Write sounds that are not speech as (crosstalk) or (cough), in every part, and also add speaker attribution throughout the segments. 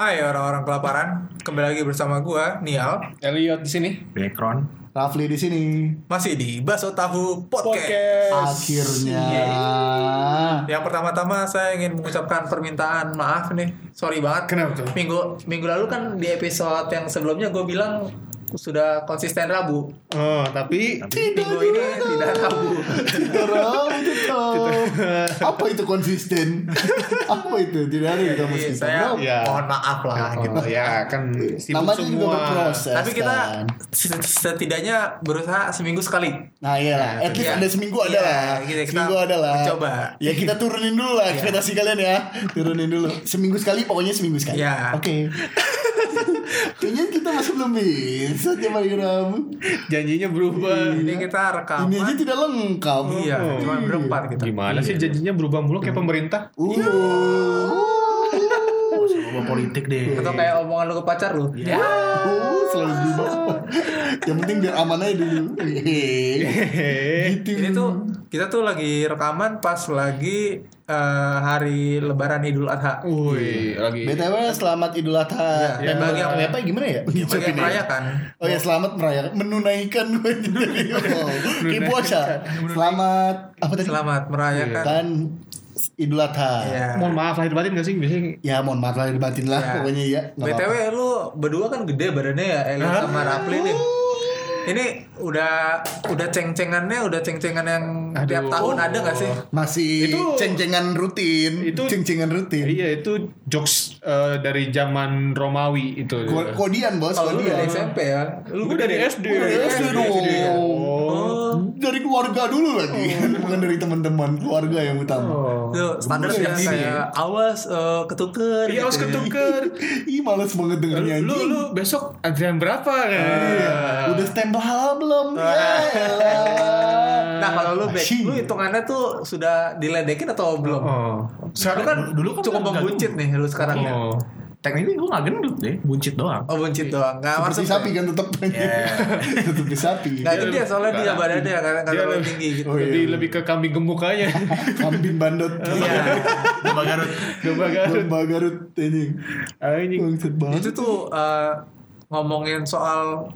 Speaker 1: orang-orang kelaparan. Kembali lagi bersama gua Nial,
Speaker 2: Elliot di sini.
Speaker 3: background
Speaker 4: Rafli di sini.
Speaker 1: masih di Baso Tahu Podcast.
Speaker 2: Podcast.
Speaker 4: Akhirnya.
Speaker 1: Iya, Yang pertama-tama saya ingin mengucapkan permintaan maaf nih. Sorry banget.
Speaker 2: Kenapa tuh?
Speaker 1: Minggu minggu lalu kan di episode yang sebelumnya gue bilang sudah konsisten Rabu.
Speaker 2: Oh, tapi
Speaker 1: Minggu ini tidak Rabu.
Speaker 4: Tidak ramu tetap. Apa itu konsisten? Apa itu? Tidak ada yang kamu
Speaker 1: Jadi
Speaker 4: konsisten.
Speaker 1: saya ya,
Speaker 4: Ramu.
Speaker 2: Iya.
Speaker 1: mohon maaf lah gitu.
Speaker 2: oh, ya kan sibuk
Speaker 4: Namanya juga
Speaker 2: semua.
Speaker 4: berproses.
Speaker 1: Tapi kita
Speaker 4: kan?
Speaker 1: setidaknya berusaha seminggu sekali.
Speaker 4: Nah iyalah, at least
Speaker 1: Iya.
Speaker 4: ada seminggu
Speaker 1: Iya,
Speaker 4: ada lah
Speaker 1: gitu, kita Iya.
Speaker 4: Seminggu ada lah
Speaker 1: coba.
Speaker 4: Ya kita turunin dulu lah ekspektasi kalian ya Turunin dulu Seminggu sekali, pokoknya seminggu sekali
Speaker 1: Iya.
Speaker 4: Oke Kayaknya kita masih belum bisa tiap hari ramu
Speaker 2: Janjinya berubah.
Speaker 1: Ini kita rekaman.
Speaker 4: Iya. Ini aja tidak lengkap
Speaker 1: Iya, cuma berempat gitu. kita.
Speaker 2: Gimana Iya Hmm. sih janjinya berubah mulu kayak pemerintah?
Speaker 4: Uh.
Speaker 3: ngomong politik deh
Speaker 1: Atau kayak omongan lu ke pacar lu. Ya.
Speaker 4: Uh, selalu berubah. Yang penting biar aman aja dulu.
Speaker 2: Hehehe.
Speaker 4: gitu.
Speaker 1: Ini tuh kita tuh lagi rekaman pas lagi eh, hari Lebaran Idul Adha.
Speaker 2: Wih, lagi.
Speaker 4: BTW selamat Idul Adha.
Speaker 1: Iya,
Speaker 4: Dan
Speaker 1: bagi
Speaker 4: yang
Speaker 1: yang-
Speaker 4: apa gimana ya?
Speaker 2: Iya,
Speaker 1: Bagi yang
Speaker 4: Ngucapin ya?
Speaker 1: merayakan.
Speaker 4: Oh ya selamat merayakan menunaikan gue jadi oh, kayak puasa. Selamat apa tadi?
Speaker 1: Selamat
Speaker 2: Iya,
Speaker 1: merayakan.
Speaker 4: Kan Idul Adha.
Speaker 1: Iya.
Speaker 2: Mohon maaf lahir batin gak sih biasanya?
Speaker 4: Ya mohon maaf lahir batin lah
Speaker 1: Iya.
Speaker 4: pokoknya ya.
Speaker 2: nah,
Speaker 4: nggak
Speaker 1: BTW lu berdua kan gede badannya ya, Eli sama Rafli nih. Ini udah udah ceng-cengannya, udah ceng-cengan yang tiap
Speaker 2: Aduh. Oh.
Speaker 1: tahun ada gak sih?
Speaker 4: apa-apa. masih
Speaker 2: Itu-
Speaker 4: ceng-cengan rutin,
Speaker 2: Itu-
Speaker 4: ceng-cengan rutin.
Speaker 2: Iya, itu jokes eh, dari zaman Romawi itu.
Speaker 4: Ko- Kodian bos,
Speaker 1: Kalau lu dari
Speaker 4: kodian.
Speaker 1: SMP ya. Lu
Speaker 2: Gue dari SD.
Speaker 4: Gua dari SD dong.
Speaker 2: Oh.
Speaker 4: dari keluarga dulu lagi (laughs) bukan dari teman-teman keluarga yang
Speaker 2: Oh.
Speaker 4: utama
Speaker 1: Tuh, standarnya
Speaker 4: Gini.
Speaker 1: kayak awas eh, ketungker.
Speaker 2: Iya, harus
Speaker 1: gitu ya.
Speaker 2: ketuker.
Speaker 4: ih males banget dengernya
Speaker 2: Lu
Speaker 4: anjing
Speaker 2: lu besok antrian berapa kan?
Speaker 4: udah stempel halal belum ya
Speaker 2: Ah.
Speaker 4: elah.
Speaker 1: Nah kalau lu back,
Speaker 4: Asyik.
Speaker 1: lu hitungannya tuh sudah diledekin atau belum?
Speaker 2: Oh.
Speaker 1: Sekarang kan dulu
Speaker 3: dulu kan
Speaker 1: cukup
Speaker 3: nggak-
Speaker 1: membuncit nih lu sekarang ya.
Speaker 2: Oh.
Speaker 3: tekniknya gue gak gendut deh buncit doang
Speaker 1: Oh buncit doang. Nggak
Speaker 4: seperti
Speaker 1: maksud
Speaker 4: sapi kan
Speaker 2: (laughs)
Speaker 4: tetep
Speaker 2: Iya.
Speaker 4: tetep di sapi
Speaker 1: Nah itu dia soalnya dia badannya karena
Speaker 2: Dia
Speaker 1: kalau
Speaker 2: lebih-
Speaker 1: tinggi gitu.
Speaker 4: Oh, iya.
Speaker 2: lebih lebih ke kambing gemuk aja. (laughs)
Speaker 4: kambing bandot
Speaker 1: Iya.
Speaker 3: Coba Garut
Speaker 2: Domba Garut.
Speaker 4: domba garut anjing
Speaker 2: Anjing.
Speaker 4: Bangsat banget
Speaker 1: itu tuh eh, ngomongin soal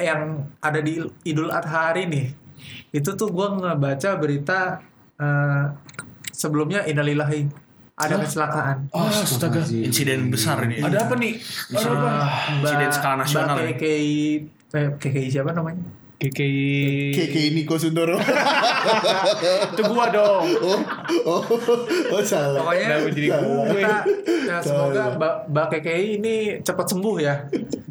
Speaker 1: yang ada di Idul Adha hari nih. Itu tuh gua ngebaca berita eh, sebelumnya Innalillahi ada kecelakaan.
Speaker 4: Oh,
Speaker 2: Astaga.
Speaker 3: insiden besar ini
Speaker 2: Ada apa nih? Ada apa?
Speaker 3: insiden skala nasional
Speaker 1: Mbak KKI eh, KKI siapa namanya?
Speaker 2: KKI.
Speaker 4: Keke
Speaker 2: (laughs)
Speaker 4: Niko Sundoro
Speaker 2: Itu gua dong.
Speaker 4: oh, oh, oh salah
Speaker 1: Pokoknya
Speaker 2: Kenapa jadi gue?
Speaker 1: kita ya, semoga Mbak, Mbak KKI ini cepat sembuh ya.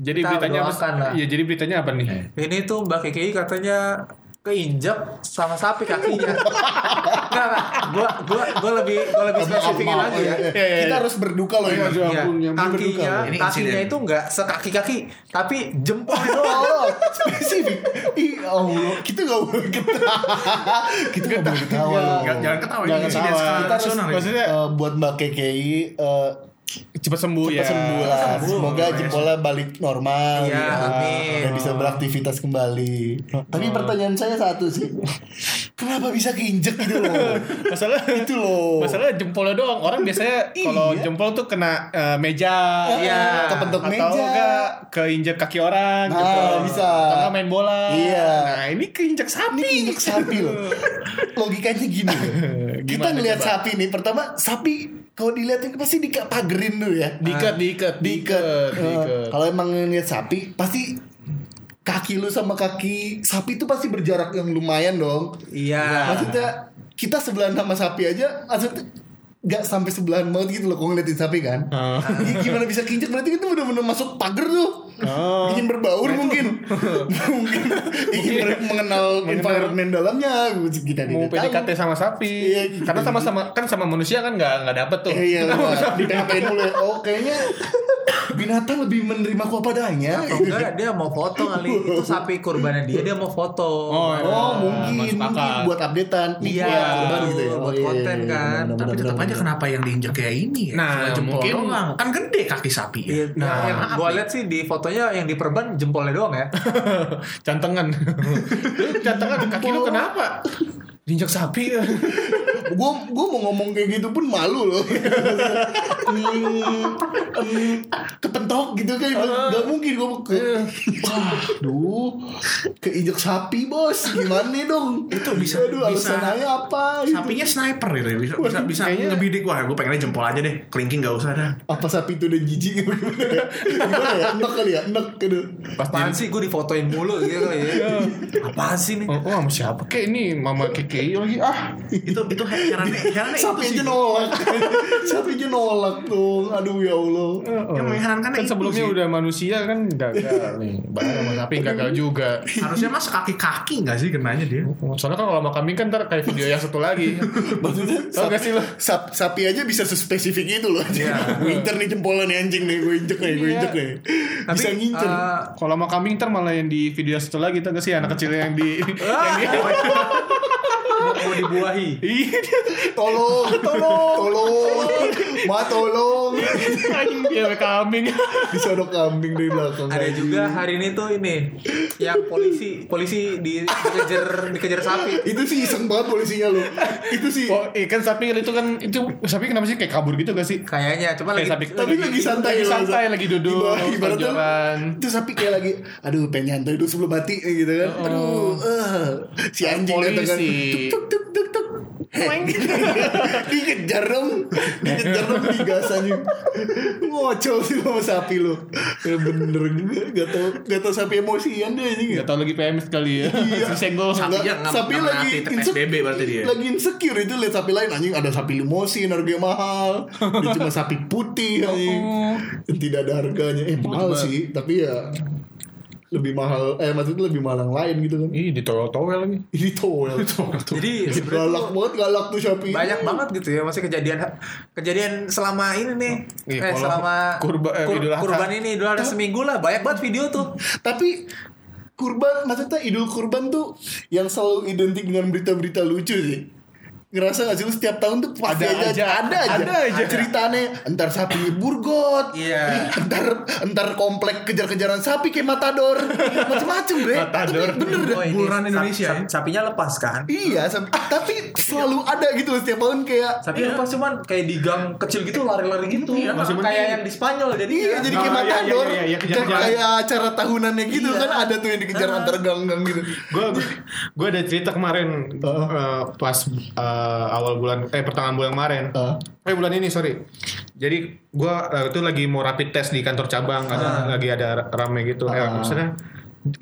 Speaker 2: Jadi
Speaker 1: Kita
Speaker 2: beritanya apa?
Speaker 1: doakan lah.
Speaker 2: Iya, jadi beritanya apa nih?
Speaker 1: Ini tuh Mbak KKI katanya keinjak sama sapi kakinya. Enggak, enggak. Gua gua gua lebih gua lebih spesifikin lagi ya.
Speaker 2: Iya, iya,
Speaker 4: kita
Speaker 2: iya.
Speaker 4: harus berduka loh ini
Speaker 2: Iya.
Speaker 1: Iya,
Speaker 2: ampun, ya
Speaker 1: kakinya,
Speaker 2: ampun,
Speaker 4: berduka.
Speaker 3: Ini
Speaker 1: kakinya
Speaker 3: insiden.
Speaker 1: itu enggak sekaki-kaki, tapi jempol doang.
Speaker 4: Oh, spesifik. Ih, ya Allah, kita gak boleh ketawa. kita gak boleh ketawa.
Speaker 3: Jangan- jangan ketawa, ini
Speaker 4: Jangan
Speaker 3: insiden
Speaker 4: Iya. ketawa.
Speaker 3: skala
Speaker 4: Kita harus,
Speaker 3: nasional ini.
Speaker 4: maksudnya eh, buat Mbak KKI eh,
Speaker 2: Cepat sembuh
Speaker 4: cepat
Speaker 2: ya.
Speaker 4: sembuh lah.
Speaker 1: Sembuh.
Speaker 4: Semoga jempolnya balik normal.
Speaker 1: Iya,
Speaker 4: ya.
Speaker 1: amin.
Speaker 4: Dan bisa beraktivitas kembali. Tapi pertanyaan saya satu sih. Kenapa bisa keinjek gitu loh?
Speaker 2: Masalah
Speaker 4: (laughs) Itu loh. Iya.
Speaker 2: Masalah jempolnya doang. Orang biasanya kalau jempol tuh kena eh, meja.
Speaker 1: Iya.
Speaker 4: Kepentok
Speaker 2: Atau
Speaker 4: meja.
Speaker 2: enggak keinjek kaki orang
Speaker 4: Nah,
Speaker 2: gitu.
Speaker 4: bisa.
Speaker 2: Atau enggak main bola.
Speaker 4: Iya.
Speaker 2: Nah, ini keinjek sapi.
Speaker 4: Ini injek sapi loh. Logikanya gini. loh. Kita
Speaker 2: (laughs) Gimana,
Speaker 4: ngelihat
Speaker 2: coba?
Speaker 4: sapi nih. Pertama sapi kalau dilihatin pasti dikapagerin dulu ya.
Speaker 2: Diikat, diikat, diikat,
Speaker 4: Eh, Kalau emang ngeliat sapi pasti kaki lu sama kaki sapi itu pasti berjarak yang lumayan dong.
Speaker 1: Iya.
Speaker 4: Maksudnya kita sebelahan sama sapi aja maksudnya nggak sampai sebelahan banget gitu loh kalau ngeliatin sapi kan.
Speaker 2: Ah.
Speaker 4: Ya, gimana bisa kinjek berarti itu bener-bener masuk pagar tuh.
Speaker 2: Oh.
Speaker 4: Ingin berbaur
Speaker 2: (laughs)
Speaker 4: mungkin. mungkin ingin ber- mengenal environment dalamnya kita
Speaker 2: Mau
Speaker 4: tidak tahu.
Speaker 2: PDKT sama sapi.
Speaker 4: Iya, gitu.
Speaker 2: Karena sama-sama kan sama manusia kan nggak nggak dapet tuh. (laughs)
Speaker 4: Eh, iya, di dulu ya. Oh, kayaknya binatang lebih menerima ku apa adanya.
Speaker 1: Atau
Speaker 2: Iya.
Speaker 1: enggak dia mau foto kali itu sapi kurbannya dia dia mau foto.
Speaker 2: Oh, iya.
Speaker 4: Oh
Speaker 2: masuk
Speaker 4: mungkin, mungkin
Speaker 2: akal.
Speaker 4: buat updatean Nih,
Speaker 1: Iya,
Speaker 4: buat korban ya.
Speaker 1: buat
Speaker 4: Oh, iya,
Speaker 1: konten
Speaker 4: iya, iya,
Speaker 1: kan.
Speaker 4: benar,
Speaker 3: tapi
Speaker 4: benar,
Speaker 3: tetap
Speaker 4: benar,
Speaker 3: aja
Speaker 4: benar.
Speaker 3: kenapa yang diinjek kayak ini ya?
Speaker 2: Nah,
Speaker 3: Cuma jempol
Speaker 2: mungkin-
Speaker 3: doang. kan gede kaki sapi ya
Speaker 1: Iya, nah, yang gua lihat sih di fotonya yang diperban jempolnya doang ya.
Speaker 2: Cantengan. Lu (laughs) Cantengan kaki lu kenapa? Diinjak sapi.
Speaker 3: (laughs)
Speaker 4: Gua gua mau ngomong kayak gitu pun malu loh. mm, kepentok gitu kan nggak mungkin gue ke
Speaker 3: Iya.
Speaker 4: aduh keinjek sapi bos gimana dong itu
Speaker 3: bisa-
Speaker 4: aduh alasan
Speaker 3: bisa.
Speaker 4: aja apa gitu.
Speaker 3: Sapinya sniper gitu ya. bisa bisa, bisa
Speaker 2: kayaknya-
Speaker 3: ngebidik wah gue pengennya jempol aja deh kelingking gak usah dah
Speaker 4: apa sapi itu udah jijik (laughs) gimana ya gimana ya enak kali ya enak gitu
Speaker 1: Apaan sih gue difotoin mulu gitu ya. Apaan sih nih?
Speaker 2: Oh, oh, sama siapa kek ini mama KKI lagi ah
Speaker 3: itu itu he- herannya herannya itu
Speaker 4: sapi
Speaker 3: sih
Speaker 4: aja nolak (laughs) sapi aja nolak dong aduh ya allah
Speaker 3: yang mengherankan
Speaker 2: kan
Speaker 3: itu
Speaker 2: sebelumnya
Speaker 3: sih.
Speaker 2: udah manusia kan (laughs) gagal nih barang sama sapi gagal juga
Speaker 3: harusnya mas kaki kaki nggak sih kenanya dia
Speaker 2: soalnya kan kalau sama kambing kan ntar kayak video yang satu lagi
Speaker 4: maksudnya
Speaker 2: tau gak
Speaker 4: sapi,
Speaker 2: sih lo
Speaker 4: sap- sapi aja bisa sespesifik itu loh (laughs) Gue incer nih jempolnya nih anjing nih gue injek nih gue
Speaker 2: Iya.
Speaker 4: injek nih
Speaker 1: Tapi,
Speaker 4: bisa ngincer
Speaker 1: eh,
Speaker 2: kalau sama kambing ntar malah yang di video satu lagi tau gak sih anak kecil yang di yang di
Speaker 1: mau- mau dibuahi.
Speaker 2: Iya,
Speaker 4: (laughs) tolong tolong tolong ma tolong
Speaker 2: (laughs) anjing dia sama kambing
Speaker 4: disodok kambing dari belakang
Speaker 1: Ada juga hari ini tuh ini yang polisi polisi di- dikejar dikejar sapi.
Speaker 4: itu sih iseng banget polisinya lu itu sih
Speaker 2: oh eh kan sapi itu kan itu sapi kenapa sih kayak kabur gitu gak sih
Speaker 1: Kayaknya cuma
Speaker 2: Kayak
Speaker 1: lagi
Speaker 2: sapi
Speaker 4: tapi lagi santai
Speaker 2: lagi
Speaker 4: loh,
Speaker 2: santai
Speaker 4: Zak.
Speaker 2: lagi duduk
Speaker 4: Ibarat- ibaratnya
Speaker 2: tonjolan.
Speaker 4: itu sapi kayak lagi aduh pengen nyantai dulu sebelum mati eh, gitu kan aduh eh. si anjing
Speaker 2: Oh. Polisi.
Speaker 4: datang kan tuk tuk tuk tuk Heh. (laughs) dikejar dong dikejar dong digas aja ngocol sih sama sapi lu ya bener juga gak tau gak tau sapi emosian dia anjing ya
Speaker 2: Gak tau lagi PMS kali ya Si senggol
Speaker 3: Sapinya
Speaker 4: Iya. Nggak,
Speaker 3: nggak-
Speaker 4: sapi
Speaker 3: nggak
Speaker 4: lagi
Speaker 3: mengerti
Speaker 4: insek-
Speaker 3: PSBB berarti dia.
Speaker 4: lagi insecure itu lihat sapi lain anjing ada sapi limosin harganya mahal ini cuma sapi putih anjing tidak ada harganya eh mahal sih tapi ya lebih mahal eh maksudnya lebih mahal yang lain gitu kan
Speaker 2: Ih ditowel-towel lagi
Speaker 4: ini towel
Speaker 1: Jadi
Speaker 4: Iya.
Speaker 1: sebenarnya
Speaker 4: galak banget galak tuh sapi
Speaker 1: banyak banget gitu ya masih kejadian kejadian selama ini nih
Speaker 2: Iya,
Speaker 1: eh
Speaker 2: kalau
Speaker 1: selama
Speaker 2: kurba- eh,
Speaker 1: kur-
Speaker 2: Idul Adha.
Speaker 1: kurban ini idul adha seminggu lah banyak banget video tuh
Speaker 4: tapi kurban maksudnya idul kurban tuh yang selalu identik dengan berita-berita lucu sih ngerasa gak sih lu setiap tahun tuh pasti
Speaker 2: Ada
Speaker 4: ada aja
Speaker 2: aja.
Speaker 4: ada aja,
Speaker 2: Ada aja.
Speaker 4: ceritanya entar sapi burgot
Speaker 1: Iya.
Speaker 4: entar entar komplek kejar-kejaran sapi kayak matador macem-macem bre
Speaker 2: Matador.
Speaker 4: tapi bener deh
Speaker 1: Oh, ini
Speaker 3: Bulan
Speaker 1: sap-
Speaker 3: Indonesia
Speaker 1: sap- sapinya lepas kan
Speaker 4: iya sap- tapi selalu ada gitu loh setiap tahun kayak
Speaker 1: sapinya lepas cuman kayak di gang kecil gitu lari-lari gitu
Speaker 3: Iya,
Speaker 1: Masih
Speaker 3: mending.
Speaker 1: kayak yang di Spanyol jadi
Speaker 4: Iya jadi kayak
Speaker 2: Oh, iya, iya,
Speaker 4: matador
Speaker 2: iya, iya, kejar-kejaran.
Speaker 4: Kayak- Kayak acara tahunannya gitu kan Ada tuh yang dikejar antar gang-gang gitu
Speaker 2: gue gue ada cerita kemarin eh, pas eh, awal bulan eh pertengahan bulan kemarin
Speaker 4: Heeh.
Speaker 2: eh bulan ini sorry jadi gue itu lagi mau rapid test di kantor cabang ada lagi ada rame gitu eh maksudnya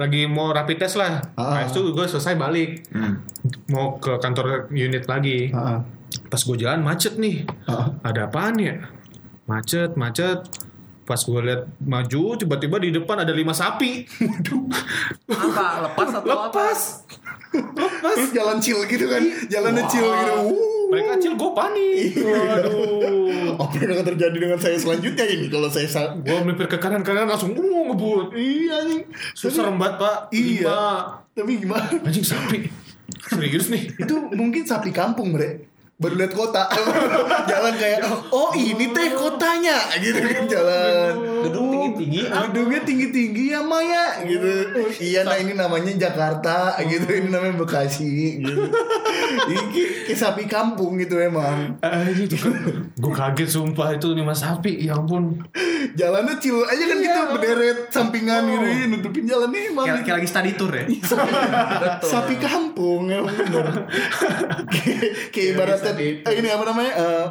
Speaker 2: lagi mau rapid test lah
Speaker 4: Ah.
Speaker 2: habis itu gue selesai balik mau ke kantor unit lagi
Speaker 4: Hmm. Heeh.
Speaker 2: pas gue jalan macet nih
Speaker 4: Ah.
Speaker 2: ada apaan ya macet macet pas gue lihat maju tiba-tiba di depan ada lima sapi (laughs)
Speaker 1: apa lepas atau
Speaker 2: lepas
Speaker 4: Terus jalan chill gitu kan Jalannya chill gitu Wuh.
Speaker 2: mereka kecil gue panik
Speaker 4: Iya.
Speaker 2: waduh
Speaker 4: Apa yang akan terjadi dengan saya selanjutnya ini Kalau saya sa-
Speaker 2: gue melipir ke kanan kanan langsung uh ngebut
Speaker 4: Iya nih
Speaker 2: susah rembat pak
Speaker 4: Iya.
Speaker 2: Lima.
Speaker 4: Tapi gimana
Speaker 2: anjing sapi serius nih
Speaker 4: Itu mungkin sapi kampung bre Baru lihat kota (laughs) Jalan kayak Oh ini teh kotanya Gitu kan jalan
Speaker 1: gedung tinggi-tinggi
Speaker 4: Gedungnya tinggi-tinggi ya Maya gitu. Iya nah ini namanya Jakarta gitu, ini namanya Bekasi gitu. Ini kayak sapi kampung gitu emang.
Speaker 2: gue kaget sumpah itu lima sapi ya ampun
Speaker 4: Jalannya cil aja kan gitu berderet sampingan gitu ya, nutupin jalan nih emang.
Speaker 3: kayak kayak lagi study tour ya
Speaker 4: Iya. Sapi kampung ya emang bener. Kayak- Kayak
Speaker 1: Iya,
Speaker 4: ibaratnya eh, ini apa namanya? eh,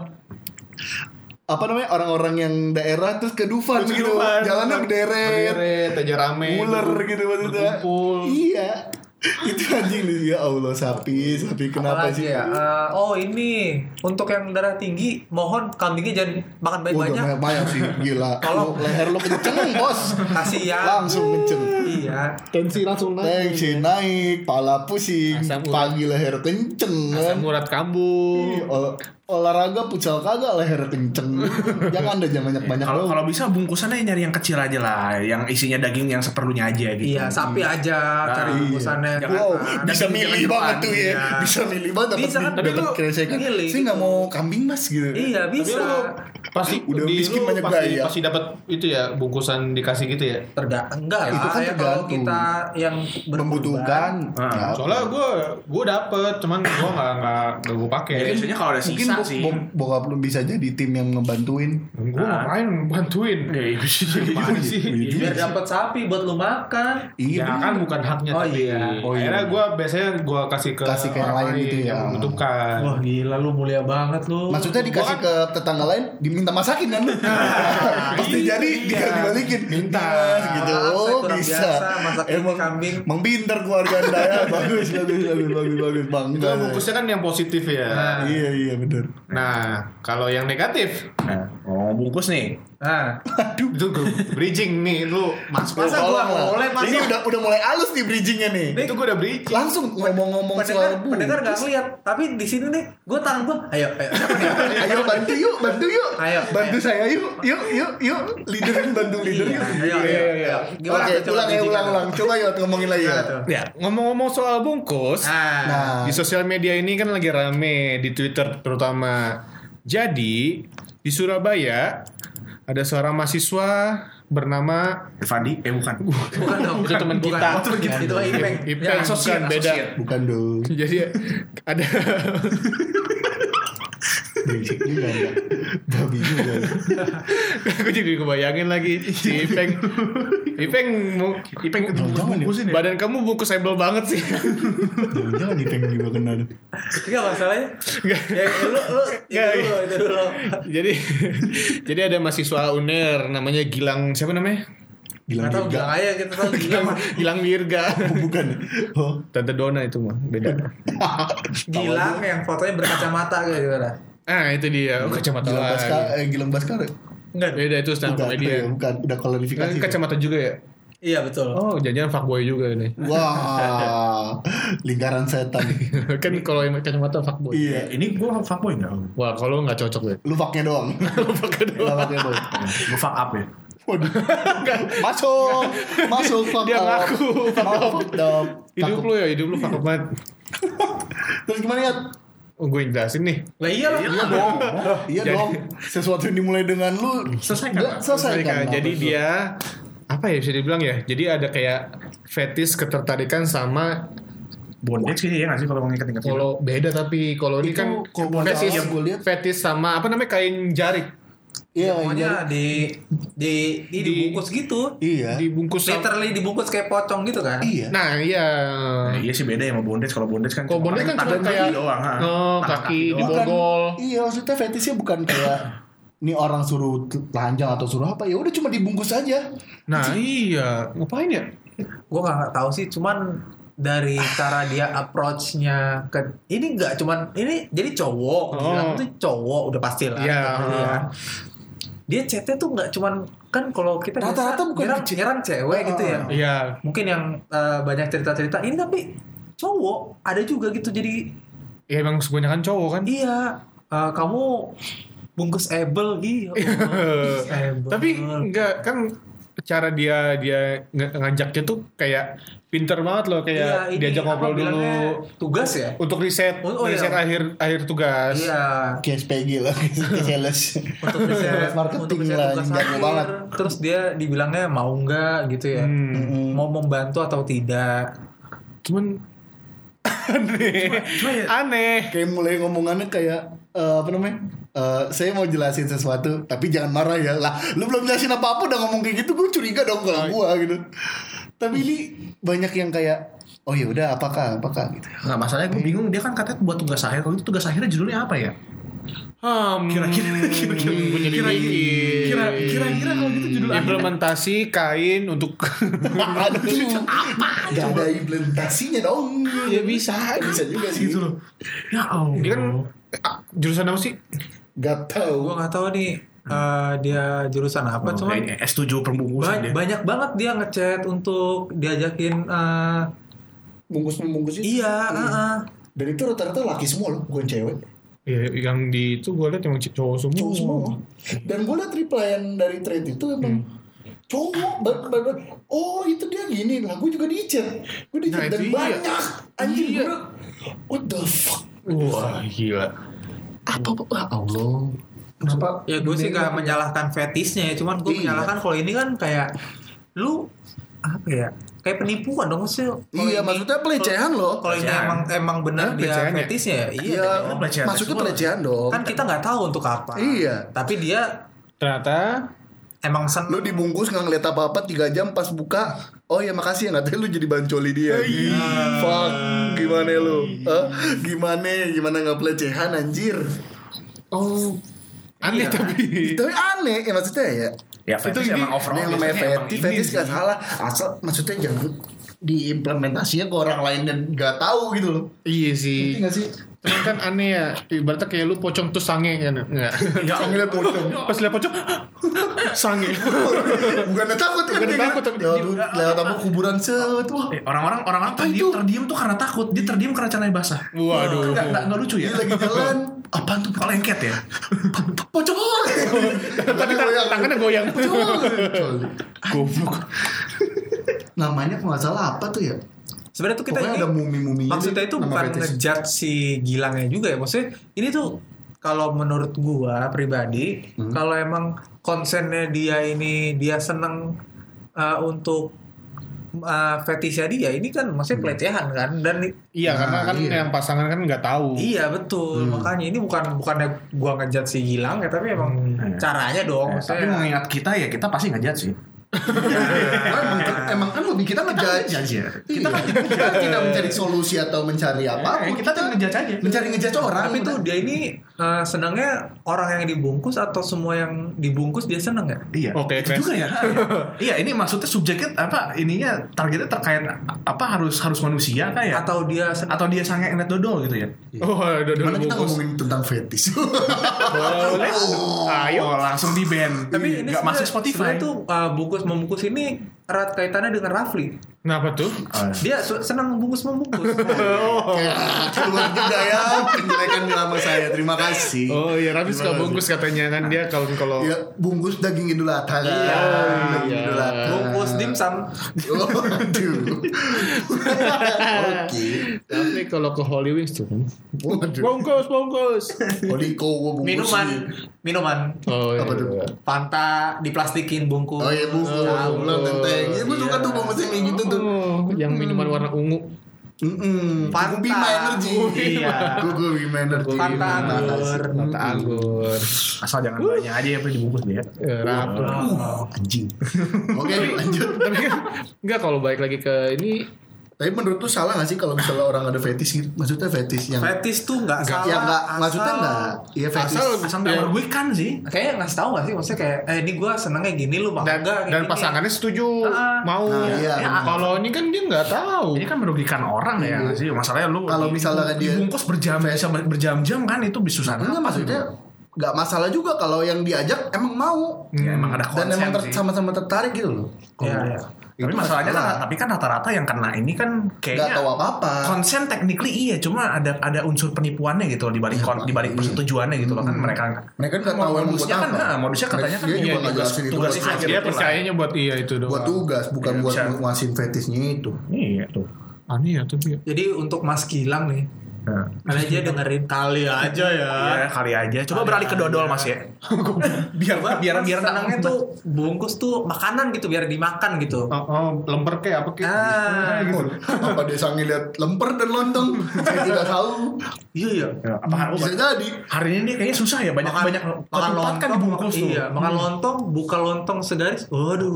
Speaker 4: apa namanya orang-orang yang daerah terus ke Dufan gitu jalannya berderet
Speaker 2: berderet aja rame
Speaker 4: ular gitu maksudnya
Speaker 2: berkumpul.
Speaker 4: iya itu anjing nih ya Allah sapi sapi kenapa
Speaker 1: Apalagi
Speaker 4: sih
Speaker 1: ya? Eh, oh ini untuk yang darah tinggi mohon kambingnya jangan
Speaker 4: Oh,
Speaker 1: makan banyak-banyak
Speaker 4: Waduh, banyak sih
Speaker 1: Tolong.
Speaker 4: gila. Kalau leher lo kenceng, Bos.
Speaker 1: Kasihan.
Speaker 4: Langsung kenceng.
Speaker 1: iya
Speaker 2: tensi langsung
Speaker 4: Tensi naik, pala pusing,
Speaker 2: Nah, Asam urat.
Speaker 4: pagi leher kenceng kan. Iya,
Speaker 2: Murat kambung
Speaker 4: Ol- olahraga pucal kagak leher kenceng. Jangan deh jangan banyak-banyak
Speaker 3: kalau
Speaker 4: lo.
Speaker 3: kalau bisa bungkusannya nyari yang kecil aja lah yang isinya daging yang seperlunya aja gitu
Speaker 1: iya sapi aja cari
Speaker 4: iya.
Speaker 1: bungkusannya
Speaker 4: Wow,
Speaker 1: Jangan-
Speaker 4: bisa
Speaker 3: Daging
Speaker 4: milih
Speaker 3: jangan
Speaker 4: banget
Speaker 3: doang,
Speaker 4: tuh ya.
Speaker 3: iya.
Speaker 4: Bisa milih banget
Speaker 1: Bisa kan,
Speaker 4: dapat
Speaker 1: tapi
Speaker 4: dapat
Speaker 1: lu
Speaker 4: kresekan.
Speaker 1: milih
Speaker 4: Saya nggak
Speaker 1: gitu.
Speaker 4: mau kambing mas gitu.
Speaker 1: Iya bisa.
Speaker 2: Pasti
Speaker 4: Udah
Speaker 2: di
Speaker 4: miskin
Speaker 2: lu
Speaker 4: banyak
Speaker 2: pasti,
Speaker 4: gaya.
Speaker 2: Pasti dapat itu ya bungkusan dikasih gitu ya.
Speaker 1: Terga enggak lah
Speaker 4: Itu kan
Speaker 1: ya kalau
Speaker 4: tergantung.
Speaker 1: kita yang berkurban.
Speaker 4: membutuhkan
Speaker 3: Ah,
Speaker 4: ya,
Speaker 2: Soalnya gue gue dapet, cuman gue nggak nggak nggak gue pakai.
Speaker 3: Ya, biasanya kalau ada
Speaker 4: mungkin
Speaker 3: sisa
Speaker 4: bo-
Speaker 3: sih.
Speaker 4: bo- bokap lu bisa jadi tim yang ngebantuin
Speaker 2: Gue ngapain bantuin?
Speaker 3: Ya, iya sih.
Speaker 2: (laughs) Gimana sih?
Speaker 4: Iya.
Speaker 1: biar dapat sapi buat lu makan.
Speaker 4: iya
Speaker 2: Ya kan bukan haknya
Speaker 1: Oh,
Speaker 2: tapi
Speaker 1: iya.
Speaker 4: Oh, iya.
Speaker 2: akhirnya gue biasanya gue kasih ke
Speaker 4: Kasih ke yang
Speaker 2: orang
Speaker 4: lain gitu ya.
Speaker 2: yang membutuhkan.
Speaker 1: Wah gila lu mulia banget lu.
Speaker 4: Maksudnya dikasih ke tetangga lain diminta masakin (laughs) kan lu? Pasti jadi dia dibalikin minta
Speaker 1: Maaf,
Speaker 4: gitu.
Speaker 1: Iya. saya
Speaker 4: Oh,
Speaker 1: kurang
Speaker 4: bisa.
Speaker 1: biasa masakin
Speaker 4: Emang
Speaker 1: kambing.
Speaker 4: Emang pinter keluarga Anda
Speaker 1: (laughs)
Speaker 4: ya. Bagus bagus bagus bagus bagus
Speaker 2: Itu
Speaker 4: bangga.
Speaker 2: bungkusnya kan yang positif ya. Nah,
Speaker 4: Iya iya benar.
Speaker 2: kalau yang negatif
Speaker 3: Nah, ngomong bungkus nih.
Speaker 1: Nah,
Speaker 2: itu gua- bridging nih lu mas
Speaker 1: Masa gua
Speaker 4: Tolong lah.
Speaker 1: boleh, masa-
Speaker 4: Ini udah udah mulai halus nih bridgingnya nih.
Speaker 2: itu gue udah bridging.
Speaker 4: Langsung ngomong-ngomong
Speaker 1: pendengar,
Speaker 4: soal bu.
Speaker 1: pendengar gak ngeliat, tapi di sini nih, gue tangan gue, ayo, ayo, siapa nih?
Speaker 4: (laughs) Ayo bantu yuk, bantu yuk.
Speaker 1: Ayo,
Speaker 4: bantu
Speaker 1: ayo.
Speaker 4: saya yuk, yuk, yuk, yuk. Leader bantu (laughs) leader yuk.
Speaker 1: Iya, ayo, ayo, ayo. Gimana
Speaker 4: Oke,
Speaker 1: tuh, coba
Speaker 4: ulang ya,
Speaker 1: bridgingnya
Speaker 4: ulang,
Speaker 1: tuh?
Speaker 4: ulang. Coba yuk ngomongin lagi ya.
Speaker 1: Gimana tuh?
Speaker 2: Ya, ngomong-ngomong soal bungkus,
Speaker 1: Nah,
Speaker 4: Nah,
Speaker 2: di sosial media ini kan lagi rame di Twitter terutama. Jadi, di Surabaya ada seorang mahasiswa bernama
Speaker 3: Fandi, eh bukan.
Speaker 2: Uh.
Speaker 1: bukan dong,
Speaker 2: Itu teman
Speaker 1: bukan.
Speaker 2: kita.
Speaker 1: Bukan, Itu Ipeng. Ya,
Speaker 2: Ipeng, bukan kan, beda.
Speaker 3: asosiat.
Speaker 4: bukan dong.
Speaker 2: (laughs) Jadi ada (laughs)
Speaker 4: Berisik juga ya. Babi juga. ya.
Speaker 2: aku jadi kebayangin lagi si Ipeng. Ipeng mau
Speaker 3: Ipeng
Speaker 4: Jangan-jangan ya.
Speaker 3: bungkusin ya.
Speaker 2: badan kamu bungkus able banget
Speaker 4: (laughs)
Speaker 2: sih.
Speaker 4: Jangan-jangan Ipeng juga kena. deh.
Speaker 1: Enggak masalahnya. Ya, lu, lu, itu
Speaker 2: Nggak,
Speaker 1: dulu, itu dulu.
Speaker 2: jadi jadi ada mahasiswa UNER namanya Gilang siapa namanya?
Speaker 4: Gila
Speaker 1: Nggak tahu,
Speaker 4: juga.
Speaker 1: bilang aja, kita tahu gila.
Speaker 2: Gilang Wirga.
Speaker 4: Bukan. Oh.
Speaker 2: Tante Dona itu mah beda.
Speaker 1: Gilang yang fotonya berkacamata gitu, kayak gimana?
Speaker 2: Ah itu dia oh, kacamata
Speaker 4: Gilang
Speaker 2: lagi.
Speaker 4: Baskara, eh, Gilang Baskara.
Speaker 1: Enggak,
Speaker 2: Beda itu stand up
Speaker 4: Bukan, ya,
Speaker 2: comedian.
Speaker 4: bukan. Udah
Speaker 2: Kan
Speaker 4: klarifikasi.
Speaker 2: kacamata juga ya.
Speaker 1: iya betul.
Speaker 2: Oh jangan-jangan fuckboy juga nih. (laughs)
Speaker 4: Wah, lingkaran setan.
Speaker 2: kan kalau yang kacamata fuckboy.
Speaker 4: iya.
Speaker 3: Eh, Ini gue fuckboy nggak?
Speaker 2: Wah kalau nggak cocok ya. deh.
Speaker 4: Lu fucknya doang. Lu fucknya doang. doang.
Speaker 3: Gue fuck up ya.
Speaker 4: Waduh. Masuk. Masuk fuck
Speaker 2: Dia
Speaker 4: up.
Speaker 2: ngaku, fuck
Speaker 4: Maaf,
Speaker 2: up.
Speaker 4: fuck up.
Speaker 2: Hidup
Speaker 4: Takut.
Speaker 2: lu ya hidup lu fuck up banget.
Speaker 4: Terus gimana ya?
Speaker 2: Oh, gue yang jelasin nih.
Speaker 1: Lah iya lah.
Speaker 4: Iya dong. Iya
Speaker 2: Jadi-
Speaker 4: dong. Sesuatu yang dimulai dengan lu
Speaker 3: Selesai
Speaker 4: Nggak, selesai
Speaker 2: Mereka.
Speaker 4: kan.
Speaker 2: Jadi dia apa ya bisa dibilang ya? Jadi ada kayak fetis ketertarikan sama
Speaker 3: Bondage sih ya nggak sih kalau ngikat-ngikat. gitu?
Speaker 2: kalau beda tapi kalau ini
Speaker 4: Itu
Speaker 2: kan
Speaker 4: kalau buat
Speaker 2: fetis
Speaker 4: yang gua lihat-
Speaker 2: fetis sama apa namanya kain jarik
Speaker 4: Iya, iya.
Speaker 1: Pokoknya di di di dibungkus gitu.
Speaker 4: Iya.
Speaker 2: dibungkus sama,
Speaker 1: Literally dibungkus kayak pocong gitu kan.
Speaker 4: Iya.
Speaker 2: nah iya
Speaker 3: Nah, iya sih beda ya sama bondage kalau bondage kan
Speaker 2: Kalau bondage kan cuma
Speaker 3: tangan- tangan
Speaker 2: kayak-
Speaker 3: kaki doang ha.
Speaker 2: Oh,
Speaker 3: Tangan
Speaker 2: kaki di
Speaker 3: doang.
Speaker 2: bawah. borgol.
Speaker 4: Iya, maksudnya fetisnya bukan kayak ini orang suruh telanjang atau suruh apa ya udah cuma dibungkus aja.
Speaker 2: nah iya ngapain ya
Speaker 1: gue nggak tahu sih cuman dari cara dia approach-nya ke ini nggak cuman ini jadi cowok
Speaker 2: Oh.
Speaker 1: bilang tuh cowok udah pasti lah
Speaker 2: Iya.
Speaker 1: gitu ya. dia chatnya tuh nggak cuman kan kalau kita
Speaker 4: Rata-rata bukan
Speaker 1: nyerang,
Speaker 4: kecil.
Speaker 1: nyerang cewek gitu ya
Speaker 2: iya
Speaker 1: mungkin yang eh, banyak cerita-cerita ini tapi cowok ada juga gitu jadi
Speaker 2: ya emang kebanyakan cowok kan
Speaker 1: iya eh, kamu bungkus ebel
Speaker 2: (laughs)
Speaker 1: gitu
Speaker 2: (laughs) tapi enggak kan cara dia dia nge- ngajaknya tuh kayak pinter banget loh
Speaker 1: Iya,
Speaker 4: Iya,
Speaker 2: kayak iya, diajak ngobrol dulu
Speaker 1: tugas ya
Speaker 2: untuk riset
Speaker 1: Oh, oh, iya.
Speaker 2: riset akhir akhir tugas
Speaker 1: iya
Speaker 4: Kayak SPG lah, kayak sales. (laughs)
Speaker 1: untuk riset
Speaker 4: Marketing
Speaker 1: untuk riset
Speaker 4: lah,
Speaker 1: tugas
Speaker 4: jago
Speaker 1: akhir.
Speaker 4: banget.
Speaker 1: terus dia dibilangnya mau nggak gitu ya
Speaker 2: Hmm.
Speaker 4: Mm.
Speaker 1: mau membantu atau tidak
Speaker 2: cuman (laughs) aneh
Speaker 3: Cuma ya,
Speaker 2: aneh
Speaker 4: kayak mulai ngomongannya kayak eh, apa namanya? Eh, saya mau jelasin sesuatu, tapi jangan marah ya. Lah, lu belum jelasin apa-apa udah ngomong kayak gitu, gue curiga dong kalau gua gitu. Tapi ini banyak yang kayak oh ya udah apakah apakah
Speaker 3: (laughs)
Speaker 4: gitu.
Speaker 3: nggak masalahnya gue bingung dia kan katanya buat tugas akhir kalau itu tugas akhirnya judulnya apa ya
Speaker 2: Hmm,
Speaker 3: kira-kira kira-kira kira-kira kira- kira-kira kalau gitu judul akhirnya
Speaker 2: implementasi kain untuk (laughs)
Speaker 4: Aduh, gak ada implementasinya dong.
Speaker 2: ya bisa
Speaker 4: Bisa juga sih
Speaker 3: gitu loh ya Allah
Speaker 2: dia kan ah, jurusan apa sih
Speaker 1: gua
Speaker 4: Gak tau.
Speaker 1: nggak tahu nih eh, dia jurusan apa
Speaker 3: Oh,
Speaker 1: cuman
Speaker 3: kayaknya S7 perbungkusan
Speaker 1: ba-
Speaker 3: dia
Speaker 1: banyak banget dia ngechat untuk diajakin eh,
Speaker 4: Bungkus membungkus itu.
Speaker 1: iya eh, eh.
Speaker 4: Dan itu rata-rata laki semua loh, bukan cewek.
Speaker 2: ya, yang di itu gue liat emang cowok semua
Speaker 4: Cowok semua. Dan gue liat replyan dari thread itu emang cowok ba- ba- ba- oh itu dia gini lah gue juga di chat gue di
Speaker 2: Nah,
Speaker 4: chat dan
Speaker 2: itu iya.
Speaker 4: banyak anjir
Speaker 2: Iya.
Speaker 4: gue what the fuck
Speaker 2: wah gila
Speaker 4: apa apa ah, Allah
Speaker 1: Kenapa? Ya gue sih gak menyalahkan fetisnya ya, cuman gue
Speaker 4: Iya.
Speaker 1: menyalahkan kalau ini kan kayak lu apa ya? Kayak penipuan dong sih. Kalau
Speaker 4: Iya,
Speaker 1: ini-
Speaker 4: maksudnya pelecehan loh.
Speaker 1: Kalau ini
Speaker 3: Pelecehan. Iya,
Speaker 1: emang emang benar
Speaker 2: Hah,
Speaker 1: dia
Speaker 2: pelecehan ya?
Speaker 1: fetisnya ya, iya.
Speaker 4: Iya,
Speaker 1: dong.
Speaker 3: pelecehan
Speaker 4: masuknya
Speaker 3: seksual.
Speaker 4: pelecehan dong.
Speaker 1: Kan kita nggak tahu untuk apa.
Speaker 4: Iya.
Speaker 1: Tapi dia
Speaker 2: Ternyata
Speaker 1: emang
Speaker 4: Lu
Speaker 1: seneng.
Speaker 4: dibungkus nggak ngeliat apa-apa 3 jam pas buka. Oh ya makasih ya nanti lu jadi bancoli dia. Fuck, gimana lu? Hah? gimana? Gimana nggak pelecehan anjir?
Speaker 2: oh aneh tapi
Speaker 4: Tapi aneh ya maksudnya ya.
Speaker 3: Ya fetis
Speaker 2: ini-
Speaker 3: emang overall
Speaker 4: Ini yang namanya
Speaker 3: biasanya emang
Speaker 4: fetis,
Speaker 3: ini
Speaker 4: fetis
Speaker 3: sih.
Speaker 4: gak salah. Asal maksudnya jangan diimplementasinya ke orang lain dan gak tahu gitu loh.
Speaker 2: iya
Speaker 4: Ngerti
Speaker 2: sih
Speaker 4: gak sih?
Speaker 2: Cuman kan aneh ya Ibaratnya kayak lu pocong tuh sange kan Enggak
Speaker 4: Sange liat pocong.
Speaker 2: (laughs) Pas liat pocong Sange
Speaker 4: Bukannya takut kan?
Speaker 2: Bukannya
Speaker 4: dia
Speaker 2: takut,
Speaker 4: gitu.
Speaker 2: tapi
Speaker 4: Ya,
Speaker 2: dia-
Speaker 4: aduh, lewat apa kuburan set. Wah,
Speaker 3: Eh, Orang-orang orang-orang terdiam, terdiam tuh karena takut. Dia terdiam karena celananya basah.
Speaker 2: Waduh.
Speaker 3: Kan nggak- nggak nggak lucu ya.
Speaker 4: dia lagi jalan. Apaan tuh?
Speaker 3: Kalau lengket ya.
Speaker 4: Pocong.
Speaker 2: Tapi
Speaker 4: goyang.
Speaker 2: tangannya goyang
Speaker 4: Pocong.
Speaker 2: Goblok
Speaker 4: Namanya kalau nggak salah apa tuh ya?
Speaker 1: Sebenarnya tuh kita
Speaker 4: Pokoknya
Speaker 1: ini
Speaker 4: ada mumi-mumi.
Speaker 1: maksudnya itu bukan ngejudge si Gilangnya juga ya. Maksudnya ini tuh kalau menurut gua pribadi,
Speaker 4: Hmm.
Speaker 1: kalau emang konsennya dia ini dia seneng eh, untuk eh, fetisnya dia ini kan
Speaker 4: Hmm.
Speaker 1: maksudnya pelecehan kan dan
Speaker 2: Iya karena
Speaker 4: Nah,
Speaker 2: kan
Speaker 4: iya.
Speaker 2: yang pasangan kan nggak tahu
Speaker 1: Iya betul,
Speaker 4: Hmm.
Speaker 1: makanya ini bukan bukannya gua ngejat si Gilang ya, tapi emang caranya dong.
Speaker 3: Hmm. Eh, Tapi
Speaker 1: maksudnya.
Speaker 3: mengingat Oh, kita ya kita pasti nggak judge sih.
Speaker 4: emang, emang kan lebih kita ngejudge.
Speaker 3: Judge ya.
Speaker 4: Kita kan tidak, kita tidak mencari solusi atau mencari apa.
Speaker 3: Eh, kita tuh ngejudge aja.
Speaker 4: mencari ngejudge orang.
Speaker 1: tapi tuh dia ini eh, senangnya orang yang dibungkus atau semua yang dibungkus dia seneng ya?
Speaker 3: Iya.
Speaker 2: Oke,
Speaker 3: Itu
Speaker 2: Crash.
Speaker 3: (laughs) juga ya. iya, ini maksudnya subjeknya apa ininya targetnya terkait apa harus harus manusia kah ya?
Speaker 1: Atau
Speaker 3: Atau,
Speaker 1: dia seneng?
Speaker 3: dia sange ngeliat dodol gitu ya?
Speaker 2: Oh ada
Speaker 4: Gimana kita ngomongin tentang fetish? (laughs)
Speaker 2: Boleh Ayo
Speaker 3: Oh, langsung di band.
Speaker 1: tapi ini
Speaker 3: Iya, nggak
Speaker 1: sebenarnya-
Speaker 3: masuk Spotify.
Speaker 1: sebenarnya tuh eh, bungkus membungkus ini erat kaitannya dengan Rafli.
Speaker 2: Kenapa Nah, tuh?
Speaker 3: Oh, iya.
Speaker 1: Dia su- senang membungkus membungkus.
Speaker 4: Keluar juga ya penjelekan nama saya. Terima kasih.
Speaker 2: Oh iya Raffi suka bungkus katanya kan dia kalau kalau
Speaker 4: Ya, bungkus daging Idul Adha kan.
Speaker 1: Iya.
Speaker 4: Daging Idul Adha.
Speaker 1: bungkus dimsum.
Speaker 2: Iya.
Speaker 4: Oh,
Speaker 1: (laughs)
Speaker 4: Aduh. Oke.
Speaker 2: Raffi kalau ke Holy Wings tuh kan
Speaker 4: Waduh.
Speaker 2: Bungkus bungkus (laughs)
Speaker 4: Oliko Oh, gua bungkusin.
Speaker 1: Minuman, minuman.
Speaker 2: Oh iya
Speaker 4: Apa tuh?
Speaker 1: Fanta diplastikin bungkus.
Speaker 4: Oh iya bungkus.
Speaker 2: Oh,
Speaker 4: Ulang tenteng. Ya gua suka
Speaker 2: iya.
Speaker 4: tuh bungkus yang kayak gitu tuh.
Speaker 2: Oh, Yang minuman warna ungu
Speaker 4: Mm-mm.
Speaker 1: Fanta.
Speaker 4: Kukubi My Energy.
Speaker 1: Iya.
Speaker 4: Kuku Bima Energy.
Speaker 1: Fanta
Speaker 4: Terima kasih.
Speaker 1: anggur.
Speaker 2: Mata anggur
Speaker 3: Asal jangan banyak aja apa dibungkus ya. dia.
Speaker 2: Eh, Raffi
Speaker 1: Oh.
Speaker 4: Anjing. Oke lanjut.
Speaker 2: Tapi (laughs) kan Enggak kalau balik lagi ke ini
Speaker 4: Tapi menurut tuh salah gak sih kalau misalnya orang ada fetish gitu? Maksudnya fetish yang
Speaker 1: Fetis tuh nggak salah.
Speaker 4: yang nggak
Speaker 1: asal-
Speaker 4: maksudnya nggak ya fetish.
Speaker 2: Asal-
Speaker 3: Asal nggak
Speaker 2: Iya.
Speaker 3: merugikan sih.
Speaker 1: Kayaknya ngasih tahu nggak sih maksudnya kayak eh ini gue senengnya gini lu mau
Speaker 2: dan,
Speaker 1: nggak kayak
Speaker 2: dan
Speaker 1: gini.
Speaker 2: pasangannya setuju
Speaker 1: Ah,
Speaker 2: mau
Speaker 4: Nah, iya.
Speaker 2: Ya, kalau ini kan dia nggak tahu
Speaker 3: Ini kan merugikan orang ya nggak sih. Masalahnya lu
Speaker 4: Kalau
Speaker 3: di-
Speaker 4: misalnya kan dia-
Speaker 3: dibungkus berjam bisa berjam-jam kan itu susah.
Speaker 4: Enggak maksudnya nggak masalah juga kalau yang diajak emang mau
Speaker 3: Ya, emang ada
Speaker 4: dan
Speaker 3: konsen
Speaker 4: emang ter-
Speaker 3: sih.
Speaker 4: sama-sama tertarik gitu loh.
Speaker 1: Iya, iya.
Speaker 3: Tapi
Speaker 4: Itu
Speaker 3: masalahnya
Speaker 4: masalah.
Speaker 3: kan- tapi kan rata-rata yang kena ini kan kayaknya
Speaker 4: Nggak tahu apa-apa.
Speaker 3: Konsen technically iya, cuma ada ada unsur penipuannya gitu loh di
Speaker 4: Iya,
Speaker 3: balik kon- di balik persetujuannya gitu loh kan
Speaker 1: Hmm.
Speaker 3: mereka
Speaker 4: Mereka nggak tahu yang
Speaker 3: modusnya
Speaker 4: buat
Speaker 3: kan
Speaker 4: apa.
Speaker 3: nah, modusnya katanya kan
Speaker 4: Dia juga nggak
Speaker 3: tugas
Speaker 4: jelasin itu
Speaker 3: tugas
Speaker 4: buat
Speaker 3: akhir
Speaker 2: dia
Speaker 3: gitu lah.
Speaker 2: percayanya buat iya itu doang
Speaker 4: Buat tugas bukan
Speaker 3: Iya,
Speaker 4: buat
Speaker 3: bisa.
Speaker 4: nguasin fetishnya itu.
Speaker 3: Iya tuh.
Speaker 2: aneh ya tapi ya
Speaker 1: Jadi untuk Mas Gilang nih,
Speaker 3: Nah.
Speaker 1: kali aja dengerin kali aja ya.
Speaker 3: Ya, kali aja. Coba beralih ke dodol Mas ya. (laughs) biar biar
Speaker 1: Biar
Speaker 3: biar
Speaker 1: senangnya tuh bungkus tuh makanan gitu biar dimakan gitu.
Speaker 2: oh, oh, lemper kayak apa kayak
Speaker 1: Ah.
Speaker 4: Iya,
Speaker 2: Eh, gitu
Speaker 4: apa dia sangat lihat lemper dan lontong? Saya tidak tahu.
Speaker 1: Iya iya.
Speaker 3: Ya, apa
Speaker 4: Bisa jadi.
Speaker 3: hari ini dia kayaknya susah ya banyak
Speaker 1: Makan
Speaker 3: banyak
Speaker 1: makan
Speaker 3: ketupat
Speaker 1: lontong
Speaker 3: kan dibungkus tuh.
Speaker 1: Iya, makan lontong, buka lontong segaris. Waduh.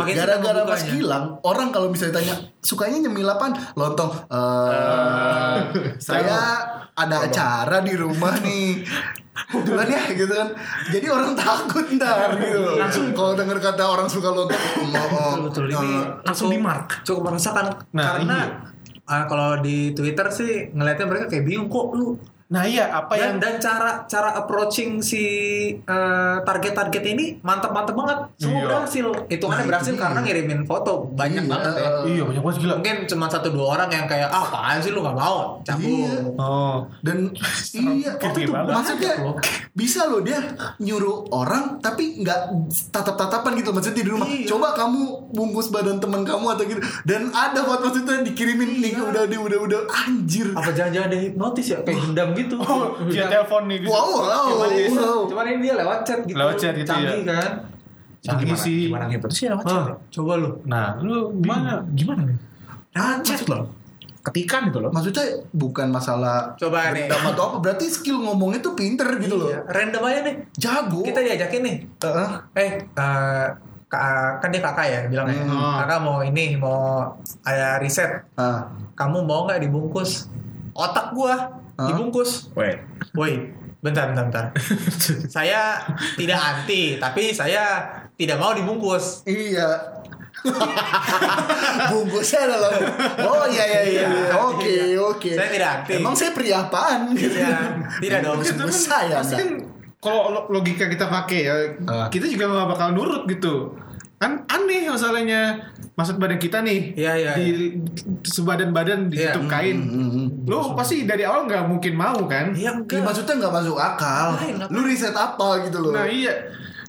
Speaker 1: Pakai
Speaker 4: Gara-gara
Speaker 1: senang
Speaker 4: Mas
Speaker 1: bukanya.
Speaker 4: Gilang, orang kalau misalnya tanya sukanya nyemil apaan? Lontong. Eh, saya ada acara di rumah nih. Duluan ya gitu kan. Jadi orang takut ntar gitu. loh. kalau denger kata orang suka lontong, "Mm, oh, oh,
Speaker 1: Betul betul ini
Speaker 4: eh,
Speaker 3: langsung
Speaker 1: cukup-
Speaker 3: di mark.
Speaker 1: Cukup merasakan
Speaker 2: Nah,
Speaker 1: karena ah, kalau di Twitter sih ngelihatnya mereka kayak bingung kok lu
Speaker 2: nah iya apa yang
Speaker 1: dan, dan cara cara approaching si eh, target-target ini mantap-mantap banget. Semua
Speaker 2: Iya.
Speaker 1: berhasil. Hitungannya
Speaker 4: Nah,
Speaker 1: berhasil
Speaker 4: itu dia.
Speaker 1: karena ngirimin foto banyak
Speaker 4: Iya.
Speaker 1: banget ya.
Speaker 2: iya banyak banget gila
Speaker 1: Mungkin cuma satu dua orang yang kayak ah apaan sih lu nggak mau cabut.
Speaker 4: Iya.
Speaker 2: oh
Speaker 4: Dan iya, waktu itu
Speaker 3: banget.
Speaker 4: maksudnya bisa loh dia nyuruh orang tapi nggak tatap-tatapan gitu maksudnya di rumah.
Speaker 1: Iya.
Speaker 4: Coba kamu bungkus badan teman kamu atau gitu.
Speaker 1: Iya.
Speaker 4: Dan ada foto maksudnya dikirimin link udah udah udah udah anjir.
Speaker 1: Apa jangan-jangan ada hipnotis ya kayak gendam gitu.
Speaker 2: Oh, via telepon nih. bisa.
Speaker 4: Wow, wow, wow.
Speaker 1: Cuman ini dia lewat chat gitu.
Speaker 2: Lewat chat gitu,
Speaker 1: Canggih kan.
Speaker 2: Canggih
Speaker 1: gimana-
Speaker 2: sih.
Speaker 1: Gimana gitu sih lewat chat.
Speaker 3: Hah.
Speaker 1: ya? Coba lu.
Speaker 2: Nah, lu
Speaker 3: Mana?
Speaker 1: Gimana nih? Nah, chat loh. Ketikan itu loh.
Speaker 4: Maksudnya bukan masalah
Speaker 1: Coba nih.
Speaker 4: dendam atau apa, berarti skill ngomongnya tuh pinter gitu loh.
Speaker 1: Iya, Random aja nih.
Speaker 4: Jago.
Speaker 1: Kita diajakin nih.
Speaker 4: Heeh.
Speaker 1: Eh, eh, ka- kan dia kakak ya bilangnya.
Speaker 4: Hmm.
Speaker 1: Kakak mau ini, mau ada riset.
Speaker 4: Ah.
Speaker 1: Kamu mau nggak dibungkus? Otak gua
Speaker 4: Hah?
Speaker 1: dibungkus.
Speaker 2: Wait.
Speaker 1: Woi, bentar, bentar, bentar.
Speaker 4: (laughs)
Speaker 1: saya tidak anti, tapi saya tidak mau dibungkus.
Speaker 4: Iya. (laughs) Bungkusnya dalam. Oh iya iya iya.
Speaker 1: Iya,
Speaker 4: Oke
Speaker 1: iya.
Speaker 4: oke.
Speaker 1: Saya tidak anti.
Speaker 4: Emang saya pria apaan? Gitu.
Speaker 1: Ya, tidak dong.
Speaker 4: Mungkin-
Speaker 2: Cuman,
Speaker 4: Besar ya,
Speaker 2: pasti
Speaker 4: Anda.
Speaker 2: kan kalau lo- logika kita pakai ya,
Speaker 4: Ah.
Speaker 2: kita juga nggak bakal nurut gitu. Kan aneh masalahnya maksud badan kita nih.
Speaker 1: Iya, iya,
Speaker 2: Di sebadan badan ditutup
Speaker 1: Iya.
Speaker 2: kain.
Speaker 4: Hmm, hmm, hmm.
Speaker 2: Lo pasti dari awal nggak mungkin mau kan?
Speaker 1: Iya,
Speaker 4: Iya,
Speaker 1: enggak.
Speaker 4: maksudnya nggak masuk akal.
Speaker 1: Lain, apa?
Speaker 4: Lu riset apa gitu loh?
Speaker 2: Nah iya.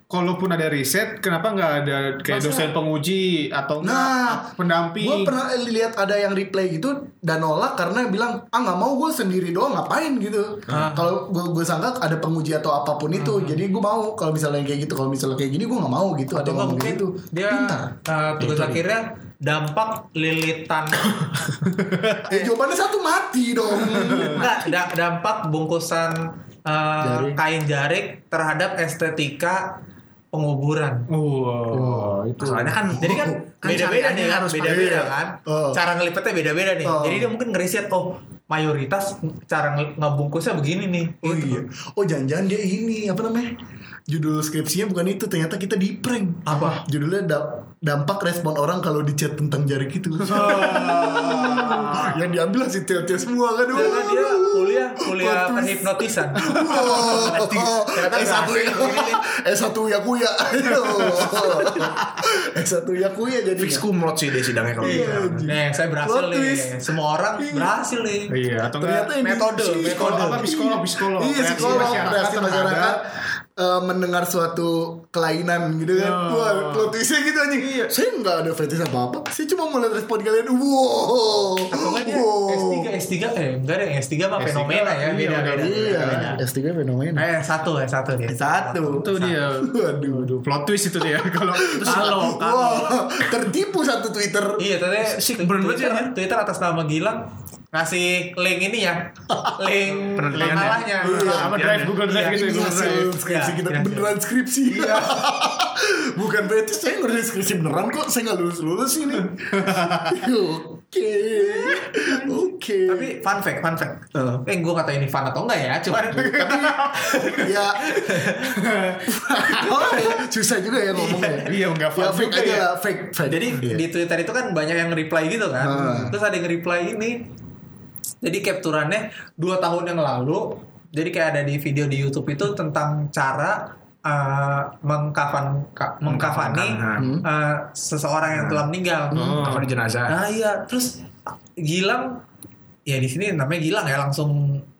Speaker 2: Kalaupun ada riset, kenapa nggak ada kayak
Speaker 1: Masa-
Speaker 2: dosen penguji atau nggak
Speaker 4: Nah,
Speaker 2: pendamping?
Speaker 4: Gue pernah lihat ada yang replay gitu dan nolak karena bilang ah nggak mau gue sendiri doang ngapain gitu. Kalau gue gue sangka ada penguji atau apapun itu,
Speaker 1: Hmm.
Speaker 4: jadi gue mau kalau misalnya kayak gitu, kalau misalnya kayak gini gue nggak mau gitu. Ada
Speaker 1: Atau
Speaker 4: yang
Speaker 1: nggak
Speaker 4: ngomong
Speaker 1: mungkin
Speaker 4: gitu.
Speaker 1: dia
Speaker 4: pintar.
Speaker 1: eh, tugas akhirnya dampak
Speaker 4: (coughs)
Speaker 1: lilitan
Speaker 4: Eh jawabannya satu mati dong.
Speaker 1: (laughs) enggak da- dampak bungkusan eh,
Speaker 4: Jarik.
Speaker 1: kain jarik terhadap estetika penguburan.
Speaker 2: Wow, itu.
Speaker 3: Soalnya kan
Speaker 1: Jadi kan
Speaker 4: Oh,
Speaker 1: beda-beda nih kan, beda-beda
Speaker 4: pakai.
Speaker 1: kan.
Speaker 4: Oh.
Speaker 1: Cara ngelipetnya beda-beda nih.
Speaker 4: Oh.
Speaker 1: Jadi dia mungkin ngeriset oh mayoritas cara nge- ngebungkusnya begini nih. gitu.
Speaker 4: Oh iya. Oh jangan-jangan dia ini apa namanya? Judul skripsinya bukan itu, ternyata kita di prank.
Speaker 1: Apa?
Speaker 4: Judulnya da- dampak respon orang kalau di chat tentang jari gitu. (laughs) yang diambil hasil chat semua kan.
Speaker 1: Ah. Ternyata dia kuliah kuliah
Speaker 4: Waduh.
Speaker 1: penghipnotisan.
Speaker 4: (laughs) Wow.
Speaker 1: Ternyata
Speaker 4: S1 ya.
Speaker 1: berhasil.
Speaker 4: S1 ya
Speaker 1: (laughs)
Speaker 4: kuya. (laughs) S1 ya kuya jadi.
Speaker 3: fix kumlot sih dia sidangnya kalau gitu.
Speaker 1: Iya. Nih, saya berhasil
Speaker 4: Plot
Speaker 1: nih.
Speaker 4: twist.
Speaker 1: Semua orang berhasil nih.
Speaker 2: Iya, atau nggak-
Speaker 4: Ternyata ini
Speaker 1: Metode, metode.
Speaker 2: Apa, psikolog, psikolog.
Speaker 4: Iya,
Speaker 2: Reaksi
Speaker 4: psikolog,
Speaker 2: masyarakat
Speaker 4: reaksi
Speaker 2: terhadap-
Speaker 4: masyarakat eh, mendengar suatu kelainan gitu kan.
Speaker 2: Iya.
Speaker 4: Wah, plot twistnya gitu anjing. Saya nggak ada fetish apa-apa. Saya cuma mau lihat respon kalian. Wow.
Speaker 1: Atau nggak dia S3,
Speaker 2: ya.
Speaker 1: S3 eh enggak deh, S3 mah
Speaker 2: S3,
Speaker 1: fenomena ya,
Speaker 2: iya,
Speaker 1: beda beda.
Speaker 4: Iya,
Speaker 1: beda.
Speaker 4: S3 fenomena.
Speaker 1: Eh, satu ya, satu dia.
Speaker 4: Satu.
Speaker 2: Itu dia.
Speaker 4: Waduh.
Speaker 2: Aduh, plot twist itu dia. (laughs) Kalau
Speaker 3: Kalau kalau
Speaker 4: Wah, tertipu satu Twitter.
Speaker 1: Iya, tadi
Speaker 3: Sick
Speaker 1: tu-
Speaker 3: burn
Speaker 1: Twitter,
Speaker 3: banget ya.
Speaker 1: Twitter atas nama Gilang ngasih link ini ya. Link
Speaker 3: Penelitian ya.
Speaker 1: makalahnya.
Speaker 4: Iya.
Speaker 2: sama drive Google Drive
Speaker 1: Iya.
Speaker 2: gitu ya,
Speaker 4: Ini
Speaker 2: Google Drive.
Speaker 4: hasil skripsi
Speaker 1: Iya,
Speaker 4: kita
Speaker 1: iya,
Speaker 4: beneran skripsi. (laughs) Bukan berarti saya ngerjain skripsi beneran kok. Saya nggak lulus lulus
Speaker 2: (laughs)
Speaker 4: ini. Oke, oke.
Speaker 1: Tapi fun fact, fun fact.
Speaker 4: Eh.
Speaker 1: Eh, gue kata ini fun atau enggak ya, cuman
Speaker 2: (laughs)
Speaker 4: ya, Oh, ya, susah juga ya ngomongnya.
Speaker 2: Iya, nggak
Speaker 4: Ya
Speaker 2: fun
Speaker 4: fake
Speaker 2: juga
Speaker 4: aja
Speaker 2: ya.
Speaker 4: lah, fake, fake.
Speaker 1: (laughs) Jadi
Speaker 4: Iya.
Speaker 1: di Twitter itu kan banyak yang reply gitu kan.
Speaker 4: Hmm.
Speaker 1: Terus ada yang reply ini. Jadi capturannya dua tahun yang lalu. Jadi kayak ada di video di YouTube itu tentang cara eh, mengkafan ka- mengkafani
Speaker 4: Hmm?
Speaker 3: Mengkafankan,
Speaker 1: eh, seseorang yang telah meninggal.
Speaker 2: Oh.
Speaker 3: kafan jenazah.
Speaker 1: Nah iya, terus Gilang ya di sini namanya Gilang ya langsung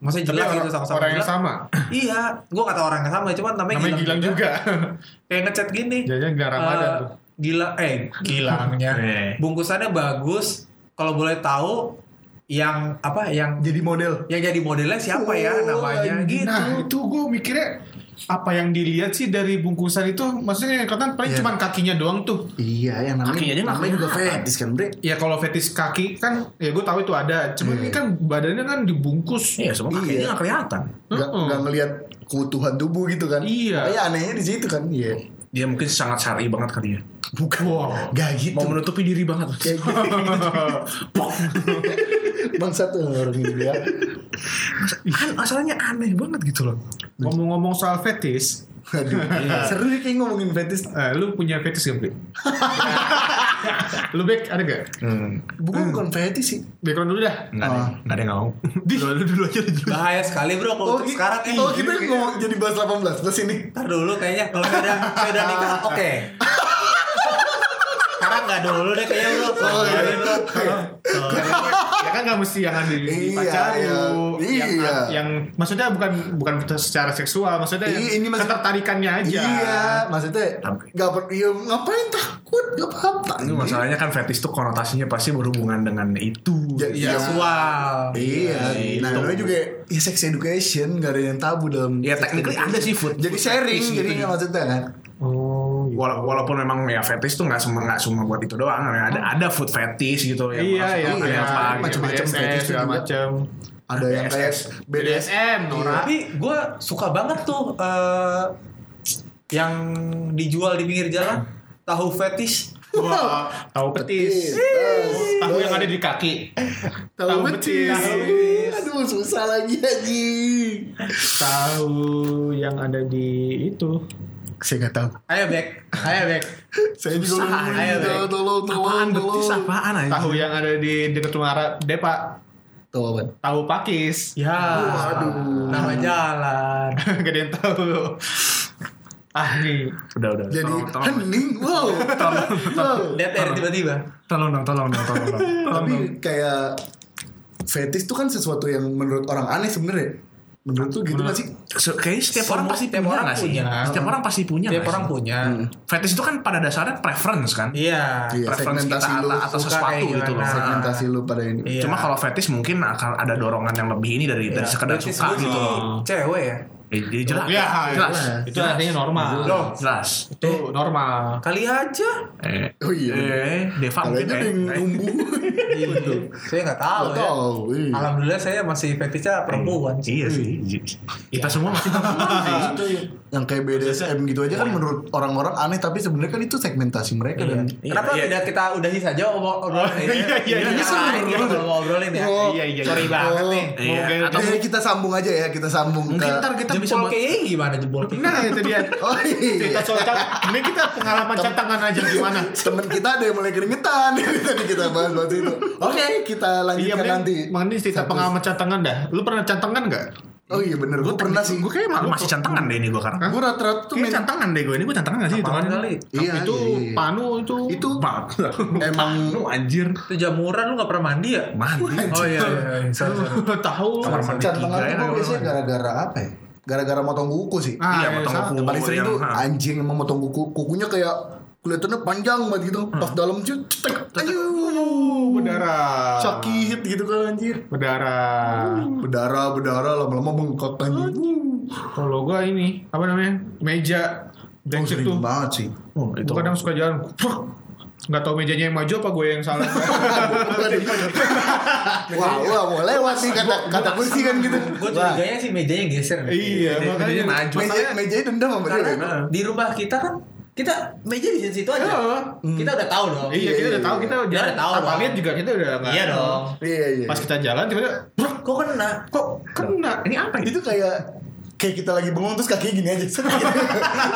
Speaker 1: maksudnya
Speaker 2: Tapi
Speaker 1: jelas
Speaker 2: orang,
Speaker 1: gitu sama-sama
Speaker 2: orang yang
Speaker 1: Gilang.
Speaker 2: sama.
Speaker 1: Iya, gua kata orang yang sama cuman namanya,
Speaker 2: Namanya Gilang juga. (laughs)
Speaker 1: Kayak ngechat gini.
Speaker 2: Jangan-jangan nggak Ramadan
Speaker 1: Eh,
Speaker 2: tuh.
Speaker 1: Gila eh Gilangnya.
Speaker 3: Eh.
Speaker 1: Bungkusannya bagus. Kalau boleh tahu yang apa yang
Speaker 4: jadi model.
Speaker 1: yang jadi modelnya siapa ya
Speaker 4: Oh,
Speaker 1: namanya gitu.
Speaker 2: Nah, itu gue mikirnya apa yang dilihat sih dari bungkusan itu maksudnya yang kelihatan paling cuman kakinya doang tuh
Speaker 4: Iya, yang namanya,
Speaker 3: Kakinya aja nggak
Speaker 4: namanya juga fetish kan, Bre.
Speaker 2: ya kalau fetis kaki kan ya gue tahu itu ada cuman ini kan badannya kan dibungkus
Speaker 3: Iya, semua kakinya nggak kelihatan.
Speaker 4: Nggak
Speaker 2: Mm-mm.
Speaker 4: nggak ngelihat keutuhan tubuh gitu kan.
Speaker 2: Iya.
Speaker 4: Kayak anehnya di situ kan. Iya.
Speaker 3: Dia mungkin sangat syar'i banget kali ya.
Speaker 4: Bukan.
Speaker 2: Wow.
Speaker 4: Gak gitu.
Speaker 3: Mau menutupi diri banget. (laughs)
Speaker 4: Kayak gitu. Bangsat tuh orang ini ya.
Speaker 3: An Kan masalahnya aneh banget gitu loh.
Speaker 2: ngomong-ngomong soal fetis
Speaker 4: Aduh, seru nih kayak ngomongin fetish.
Speaker 2: eh, lu punya fetis gak (laughs) Bli? lu back ada gak?
Speaker 4: Bukan bukan fetish sih.
Speaker 2: background dulu dah
Speaker 3: Enggak Hmm, ada,
Speaker 4: Ah.
Speaker 3: enggak ada yang mau. Dulu dulu aja dulu.
Speaker 1: Bahaya sekali bro kalau untuk
Speaker 4: gi-
Speaker 1: sekarang ini.
Speaker 4: oh, kita ngomong jadi bahas 18 plus ini.
Speaker 1: Ntar dulu kayaknya kalau saya udah saya udah nikah oke.
Speaker 5: Sekarang nggak dulu deh kayaknya lu. Oh, iya.
Speaker 2: ya kan nggak mesti yang ada di
Speaker 4: Iya,
Speaker 2: pacar
Speaker 4: iya.
Speaker 2: lu, yang,
Speaker 4: Iya.
Speaker 2: yang maksudnya bukan bukan secara seksual, maksudnya
Speaker 4: Iya,
Speaker 2: yang
Speaker 4: ini maksud-
Speaker 2: ketertarikannya aja.
Speaker 4: Iya, maksudnya nggak per, iya, ngapain takut nggak apa-apa.
Speaker 3: (laughs) Ini masalahnya kan fetish tuh konotasinya pasti berhubungan dengan itu.
Speaker 4: Ya, iya.
Speaker 3: Seksual.
Speaker 4: Iya, nah namanya juga ya sex education nggak ada yang tabu dalam.
Speaker 3: Ya
Speaker 4: sex
Speaker 3: technically
Speaker 4: education.
Speaker 3: ada sih food.
Speaker 4: Jadi sharing, jadi nggak maksudnya kan.
Speaker 2: Oh,
Speaker 3: Wala- walaupun memang ya fetish tuh nggak cuma nggak cuma buat itu doang. ya. Ada ada food fetish gitu yang
Speaker 2: Iya,
Speaker 3: maksudnya
Speaker 2: iya,
Speaker 3: ada
Speaker 2: iya.
Speaker 3: apa gitu.
Speaker 4: macam-macam
Speaker 2: BDSM,
Speaker 4: fetish
Speaker 2: segala
Speaker 4: juga.
Speaker 2: macam.
Speaker 4: Ada yang kayak BDS.
Speaker 2: BDSM, Nora.
Speaker 1: Tapi gue suka banget tuh eh, yang dijual di pinggir jalan tahu fetish.
Speaker 2: Wah, tahu petis.
Speaker 4: Iya.
Speaker 2: Tahu yang ada di kaki.
Speaker 4: Tahu
Speaker 2: Tahu
Speaker 4: betis.
Speaker 2: betis.
Speaker 4: Aduh susah lagi aji.
Speaker 2: Tahu yang ada di itu.
Speaker 4: Saya nggak tahu.
Speaker 1: Ayo back, ayo back.
Speaker 4: Saya juga
Speaker 3: Susah,
Speaker 4: belum
Speaker 3: ayo,
Speaker 4: tahu.
Speaker 3: Bek.
Speaker 4: Tolong,
Speaker 3: Apaan
Speaker 4: tolong,
Speaker 3: betis
Speaker 4: tolong.
Speaker 3: apaan aja?
Speaker 2: Tahu yang ada di dekat rumah Ra- Depa.
Speaker 4: Tahu apa?
Speaker 2: Tahu pakis.
Speaker 1: Ya,
Speaker 4: Waduh.
Speaker 1: nama jalan.
Speaker 2: (laughs) Gak ada yang tahu. Ah nih.
Speaker 3: Udah udah.
Speaker 4: Jadi
Speaker 3: Tolong,
Speaker 4: (laughs)
Speaker 3: tolong.
Speaker 4: hening, wow. Wow.
Speaker 1: Lihat air tiba-tiba.
Speaker 3: Tolong dong, tolong dong, tolong (laughs) dong. Tolong
Speaker 4: Tapi
Speaker 3: dong.
Speaker 4: kayak fetish tuh kan sesuatu yang menurut orang aneh sebenarnya. Menurut tuh gitu nggak sih?
Speaker 3: So, kayaknya setiap
Speaker 1: Semua-
Speaker 3: orang pasti
Speaker 1: setiap
Speaker 3: punya
Speaker 1: orang
Speaker 3: nggak sih?
Speaker 1: punya.
Speaker 3: Setiap orang pasti punya.
Speaker 1: Tiap
Speaker 3: nggak
Speaker 1: orang
Speaker 3: sih?
Speaker 1: punya.
Speaker 3: Fetish itu kan pada dasarnya preference kan.
Speaker 1: Iya.
Speaker 4: Hmm. Iya,
Speaker 3: preference kita
Speaker 4: segmentasi lu
Speaker 3: atas, atas
Speaker 1: suka
Speaker 3: sesuatu
Speaker 1: kayak
Speaker 3: gitu loh.
Speaker 1: gimana.
Speaker 4: Segmentasi lu pada ini.
Speaker 1: Iya.
Speaker 3: Cuma kalau fetish mungkin akan ada dorongan yang lebih ini dari, dari sekedar
Speaker 1: Fetish gua
Speaker 3: suka gitu.
Speaker 1: sih
Speaker 3: loh.
Speaker 1: Cewek ya.
Speaker 3: Eh, Jadi jelas.
Speaker 2: Ya,
Speaker 3: jelas.
Speaker 2: itu artinya normal.
Speaker 3: Loh, jelas.
Speaker 2: Itu normal.
Speaker 1: Kali aja.
Speaker 3: Eh,
Speaker 4: Oh iya.
Speaker 3: eh, Deva
Speaker 4: Kalau
Speaker 3: mungkin
Speaker 4: itu
Speaker 3: eh,
Speaker 4: yang
Speaker 3: eh. (laughs)
Speaker 4: numbuh.
Speaker 1: Saya nggak tahu
Speaker 4: Nggak
Speaker 1: ya.
Speaker 4: tahu, iya.
Speaker 1: Alhamdulillah saya masih fetishnya perempuan.
Speaker 3: Iya sih. Kita semua masih
Speaker 4: Itu
Speaker 3: iya.
Speaker 4: yang- yang kayak BDSM gitu aja
Speaker 1: iya.
Speaker 4: kan menurut orang-orang aneh tapi sebenarnya kan itu segmentasi mereka dan
Speaker 1: Kenapa
Speaker 3: iya.
Speaker 1: tidak kita udahi saja omong obrolan ini?
Speaker 2: iya, iya,
Speaker 1: Yang
Speaker 2: iya.
Speaker 1: lain kita belum ngobrolin ya.
Speaker 4: Oh,
Speaker 2: Iya, iya,
Speaker 1: Sorry
Speaker 2: iya.
Speaker 1: banget nih.
Speaker 3: Iya.
Speaker 2: Oke.
Speaker 3: Atau
Speaker 4: Eh, kita sambung aja ya kita sambung
Speaker 3: mungkin
Speaker 4: ke
Speaker 3: ntar kita bisa
Speaker 1: Jebol
Speaker 3: buat
Speaker 1: kayaknya gimana jebol kayaknya?
Speaker 2: Nah, itu dia.
Speaker 4: Oh
Speaker 2: Cerita
Speaker 4: iya.
Speaker 2: soal cat- ini kita pengalaman catangan aja gimana?
Speaker 4: Temen kita ada yang mulai keringetan (laughs) tadi kita bahas waktu itu. Oke, kita
Speaker 2: Iya,
Speaker 4: lanjutkan
Speaker 2: mending-
Speaker 4: nanti.
Speaker 2: mending cerita
Speaker 4: Satu.
Speaker 2: pengalaman catangan dah. Lu pernah catangan nggak?
Speaker 4: Oh iya bener, gue pernah sih.
Speaker 2: Gue kayak
Speaker 3: masih cantengan deh ini gue karena.
Speaker 4: Gue rata-rata tuh
Speaker 3: Kayaknya
Speaker 4: main
Speaker 3: cantengan deh gue ini gue cantengan gak sih itu?
Speaker 1: Apaan Gitu kali?
Speaker 4: Iya,
Speaker 2: itu
Speaker 4: iya, iya.
Speaker 2: panu itu.
Speaker 4: itu Eh,
Speaker 3: Bang.
Speaker 4: emang
Speaker 3: Lu anjir.
Speaker 1: Itu jamuran lu gak pernah mandi ya?
Speaker 3: Mandi.
Speaker 1: Oh iya, iya, iya. (laughs) Sorry, sorry.
Speaker 2: (laughs) tahu.
Speaker 3: Kamar mandi tiga ya,
Speaker 4: cantengan tuh gua
Speaker 3: kalau
Speaker 4: biasanya
Speaker 3: nggak
Speaker 4: gara-gara apa ya? Gara-gara motong kuku sih.
Speaker 2: Ah,
Speaker 3: Iya,
Speaker 2: iya,
Speaker 3: potong
Speaker 2: sa-
Speaker 3: kuku.
Speaker 4: yang paling sering
Speaker 3: yang-
Speaker 4: tuh
Speaker 3: ah.
Speaker 4: anjing emang motong kuku. Kukunya kayak kelihatannya panjang banget gitu. Pas
Speaker 3: Hmm.
Speaker 4: dalam cuy, cetek. Aduh,
Speaker 2: Berdarah.
Speaker 4: sakit gitu kan anjir.
Speaker 2: Berdarah.
Speaker 4: Berdarah, berdarah lama-lama bengkak anjing.
Speaker 2: Kalau gua ini apa namanya? Meja
Speaker 4: Oh,
Speaker 2: brengsek tuh.
Speaker 4: sering banget sih.
Speaker 3: Oh, itu
Speaker 2: Itu kadang suka jalan. Enggak tahu mejanya yang maju apa gue yang salah.
Speaker 4: Wah, wah, mau lewat sih kata kata kursi kan gitu.
Speaker 1: Gue
Speaker 4: Wah,
Speaker 1: curiganya sih mejanya geser. nih.
Speaker 2: iya,
Speaker 3: Jadi maju.
Speaker 4: meja mejanya dendam sama dia.
Speaker 1: Karena di rumah kita kan kita meja di situ aja. Hmm.
Speaker 2: Iya.
Speaker 1: Kita udah tahu dong.
Speaker 2: Iya, kita udah tahu kita
Speaker 1: Iya,
Speaker 2: jalan.
Speaker 1: udah tahu,
Speaker 2: Apa
Speaker 1: Bang.
Speaker 2: lihat juga kita udah nggak-
Speaker 1: Iya dong.
Speaker 4: Iya, iya.
Speaker 2: Pas kita jalan tiba-tiba
Speaker 1: Bro, kok kena?
Speaker 2: kok kena.
Speaker 3: Ini apa ya? ini?
Speaker 4: itu kayak kayak kita lagi bengong terus kakinya gini aja (laughs)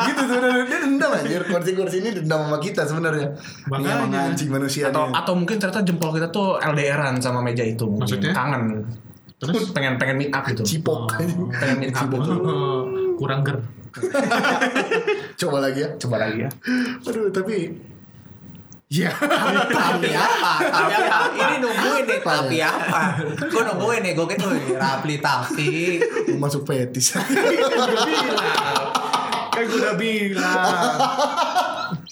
Speaker 4: gitu sebenarnya dia dendam anjir kursi-kursi ini dendam sama kita sebenarnya ini
Speaker 2: Makanya.
Speaker 4: emang anjing manusia
Speaker 3: Atau atau mungkin ternyata jempol kita tuh LDRan sama meja itu mungkin.
Speaker 2: Maksudnya?
Speaker 3: Kangen. Terus pengen pengen meet up gitu.
Speaker 4: cipok
Speaker 3: Pengen meet up.
Speaker 2: Eh, (laughs) kurang ger.
Speaker 4: coba lagi ya
Speaker 3: Coba lagi ya.
Speaker 4: aduh tapi
Speaker 2: Iya.
Speaker 1: (laughs) Tapi apa? Tapi apa? Ini nungguin nih. Tapi apa? Gue nungguin nih. Gue gitu. Rapli tapi.
Speaker 4: mau masuk fetis
Speaker 2: Kan gue udah (laughs) bilang.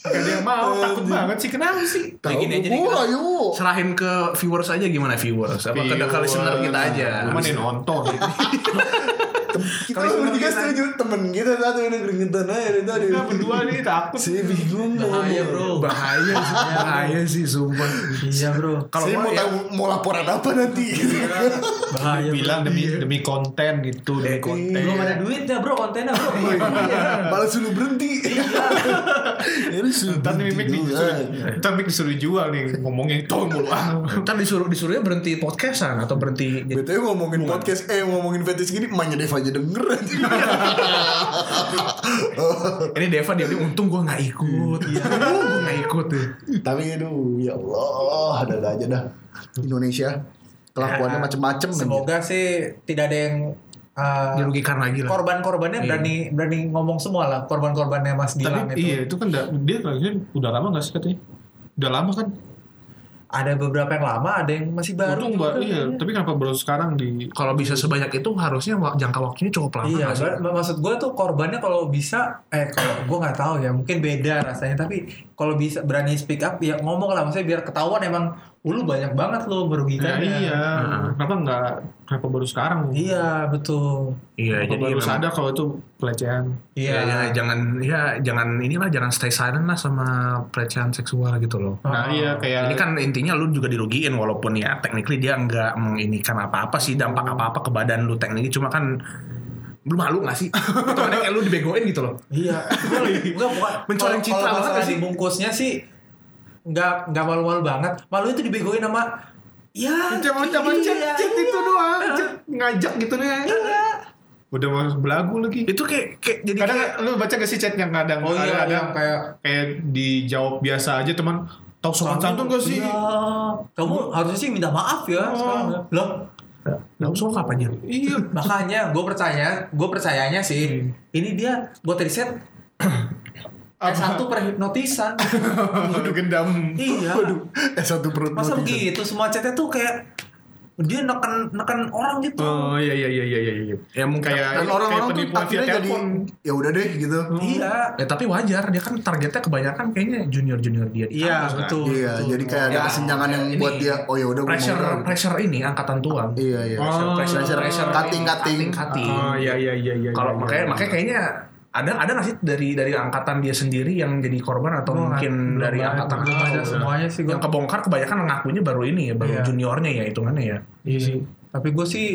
Speaker 2: Gak ada yang mau, takut banget sih. Kenapa sih?
Speaker 4: tahu
Speaker 1: gini aja nih,
Speaker 4: gue yuk
Speaker 3: Serahin ke viewers aja gimana viewers?
Speaker 2: Iya,
Speaker 3: Apa ke ke listener kita aja?
Speaker 2: Mana yang nonton?
Speaker 4: kita bertiga setuju temen kita satu ini keringetan aja itu ada
Speaker 2: Kita berdua nih takut.
Speaker 4: saya bingung mau
Speaker 1: Bahaya bro.
Speaker 3: Bahaya sih, bahaya sih sumpah.
Speaker 1: Iya bro.
Speaker 3: Kalau
Speaker 4: saya
Speaker 3: gua
Speaker 4: mau
Speaker 3: ya-
Speaker 4: tahu mau laporan apa nanti
Speaker 2: Iya.
Speaker 4: (laughs)
Speaker 1: Bahaya.
Speaker 2: Bilang demi demi konten gitu, demi konten.
Speaker 1: Belum ada duitnya bro kontennya bro. Iya.
Speaker 4: malah suruh berhenti ini suruh
Speaker 2: Iya. Ntar nih ya. Iya. mic
Speaker 4: berhenti
Speaker 2: disuruh,
Speaker 4: dulu
Speaker 2: ntar mic disuruh jual nih ngomongnya itu mulu ah.
Speaker 3: Ntar disuruh disuruhnya berhenti podcastan atau berhenti jadi
Speaker 4: BTW ngomongin podcast, eh ngomongin fetish gini, emaknya Deva aja
Speaker 2: (laughs)
Speaker 4: denger anjing.
Speaker 3: ini Deva dia bilang, untung gua nggak ikut (laughs) iya gue nggak ikut ya. tuh
Speaker 4: Tapi aduh, ya Allah, ada ada aja dah. Indonesia, kelakuannya
Speaker 1: Ya,
Speaker 4: macem-macem. anjing.
Speaker 1: Semoga sih tidak ada yang uh,
Speaker 3: dirugikan lagi lah
Speaker 1: korban-korbannya berani berani ngomong semua lah korban-korbannya Mas Gilang
Speaker 6: iya,
Speaker 2: Tapi
Speaker 1: itu.
Speaker 2: iya itu kan nggak- dia kayaknya udah lama gak sih katanya?
Speaker 6: Udah lama kan?
Speaker 1: Ada beberapa yang lama, ada yang masih baru.
Speaker 6: Untung baru iya, tapi kenapa baru sekarang di
Speaker 3: Kalau bisa sebanyak itu harusnya wa- jangka waktunya cukup lama.
Speaker 1: Iya,
Speaker 3: nggak sih?
Speaker 1: mak- maksud gue tuh korbannya kalau bisa, eh kalau gue nggak tahu ya, mungkin beda rasanya. Tapi kalau bisa berani speak up, ya ngomong lah, maksudnya biar ketahuan emang, "Oh, lu banyak banget
Speaker 6: Ya,
Speaker 1: lo
Speaker 2: Nah,
Speaker 1: merugikannya.
Speaker 6: iya. Kenapa enggak kenapa baru sekarang?
Speaker 1: Iya, betul.
Speaker 6: Kenapa
Speaker 3: Iya, jadi
Speaker 6: baru
Speaker 3: memang-
Speaker 6: sadar kalau itu pelecehan.
Speaker 3: Iya, ya,
Speaker 1: Iya,
Speaker 3: jangan ya jangan inilah jangan stay silent lah sama pelecehan seksual gitu loh.
Speaker 6: Nah, iya kayak
Speaker 3: Ini kan intinya lu juga dirugiin walaupun ya technically dia nggak menginikan apa-apa sih dampak apa-apa ke badan lu technically cuma kan lu malu gak sih? Atau ada kayak lu dibegoin gitu loh.
Speaker 1: iya. Gue bukan kalau-
Speaker 3: Mencoreng citra
Speaker 1: kalau
Speaker 3: banget
Speaker 1: masalah
Speaker 3: gak sih?
Speaker 1: dibungkusnya sih nggak nggak malu-malu banget. Malu itu dibegoin sama ya
Speaker 6: Cuma cuma chat
Speaker 1: iya,
Speaker 6: chat
Speaker 1: iya.
Speaker 6: itu doang, chat ngajak gitu nih. Udah mau belagu lagi.
Speaker 3: Itu kayak kayak jadi
Speaker 6: Kadang
Speaker 3: kayak-
Speaker 6: lu baca gak sih chat yang kadang
Speaker 1: Oh iya,
Speaker 6: kadang,
Speaker 1: yang kayak
Speaker 6: kayak dijawab biasa aja teman tau sopan santun gak sih?
Speaker 1: Iya. Kamu harusnya sih minta maaf ya. sekarang. Loh,
Speaker 3: Lah, so kapan ya?
Speaker 6: Iya.
Speaker 1: makanya gue percaya gue percayanya sih ini dia buat riset S1 perhipnotisan
Speaker 2: Waduh gendam.
Speaker 1: iya
Speaker 4: S1 eh, perut
Speaker 1: masa
Speaker 4: notisan.
Speaker 1: begitu semua chatnya tuh kayak dia neken neken orang gitu
Speaker 2: Oh iya iya iya iya iya. iya.
Speaker 3: Ya mungkin
Speaker 2: Kayak
Speaker 4: Dan orang-orang
Speaker 2: kayak
Speaker 4: tuh
Speaker 2: penipuan via
Speaker 4: akhirnya jadi
Speaker 2: telepon. Hmm.
Speaker 4: ya udah deh gitu.
Speaker 1: iya
Speaker 3: Ya tapi wajar dia kan targetnya kebanyakan kayaknya junior-junior dia di
Speaker 1: iya
Speaker 3: kampus, kan?
Speaker 1: betul
Speaker 4: Iya,
Speaker 1: betul.
Speaker 4: jadi kayak ada
Speaker 3: Ya,
Speaker 4: kesenjangan yang
Speaker 3: ini.
Speaker 4: buat dia oh ya udah gua mau
Speaker 3: Pressure
Speaker 4: udah.
Speaker 3: pressure ini angkatan tua.
Speaker 4: Iya iya.
Speaker 2: Oh,
Speaker 4: pressure, cutting, cutting.
Speaker 3: cutting.
Speaker 2: Oh iya iya iya iya. iya,
Speaker 3: Kalau makanya
Speaker 2: iya.
Speaker 3: makanya kayaknya ada ada nggak sih dari dari angkatan dia sendiri yang jadi korban
Speaker 1: Gua
Speaker 3: atau
Speaker 1: nggak-
Speaker 3: mungkin
Speaker 1: belum
Speaker 3: dari
Speaker 1: ada,
Speaker 3: angkatan
Speaker 1: belum
Speaker 3: kita?
Speaker 1: ada semuanya sih gue
Speaker 3: yang kebongkar kebanyakan ngakunya baru ini ya baru
Speaker 1: Iya.
Speaker 3: juniornya ya hitungannya ya
Speaker 6: Iya sih.
Speaker 1: tapi gue sih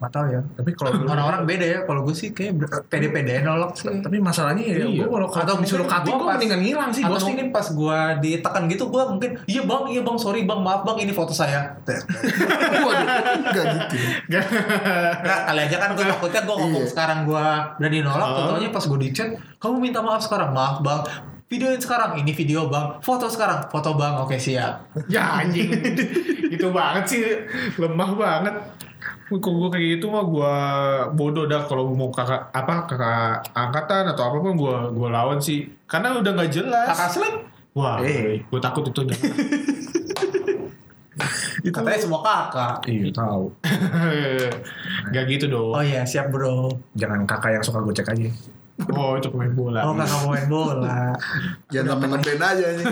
Speaker 1: nggak tahu ya
Speaker 3: tapi kalau dulu-
Speaker 1: orang-orang beda ya kalau gue sih kayak pede-pede nolak sih
Speaker 3: tapi masalahnya ya
Speaker 6: Iya.
Speaker 3: gue kalau
Speaker 1: Atau
Speaker 3: atau disuruh
Speaker 1: mungkin
Speaker 3: cutting
Speaker 1: gua
Speaker 3: gue
Speaker 1: pas-
Speaker 3: mendingan ngilang sih
Speaker 1: atau
Speaker 3: ghosting
Speaker 1: mungkin pas gue ditekan gitu gue mungkin iya bang iya bang sorry bang maaf bang ini foto saya
Speaker 4: (laughs) Waduh, enggak gitu.
Speaker 1: Nggak, kali aja kan gue takutnya gue ngomong
Speaker 4: Iya.
Speaker 1: sekarang gue udah dinolak fotonya pas gue di chat kamu minta maaf sekarang maaf bang videoin sekarang ini video bang foto sekarang foto bang oke siap
Speaker 2: (laughs) ya anjing. gitu banget sih lemah banget. Wih, Kalau gue kayak gitu mah gue bodoh dah kalau mau kakak apa kakak angkatan atau apapun gue gue lawan sih karena udah nggak jelas.
Speaker 1: kakak slim
Speaker 2: Wah,
Speaker 3: Eh.
Speaker 2: gue takut itu (laughs) udah.
Speaker 1: katanya semua kakak
Speaker 3: Iya tahu.
Speaker 2: Gak gitu dong.
Speaker 1: oh iya siap bro
Speaker 3: Jangan kakak yang suka gocek aja.
Speaker 2: Oh itu pemain bola.
Speaker 1: oh kakak mau main bola
Speaker 4: Jangan sampai ngeband aja nih.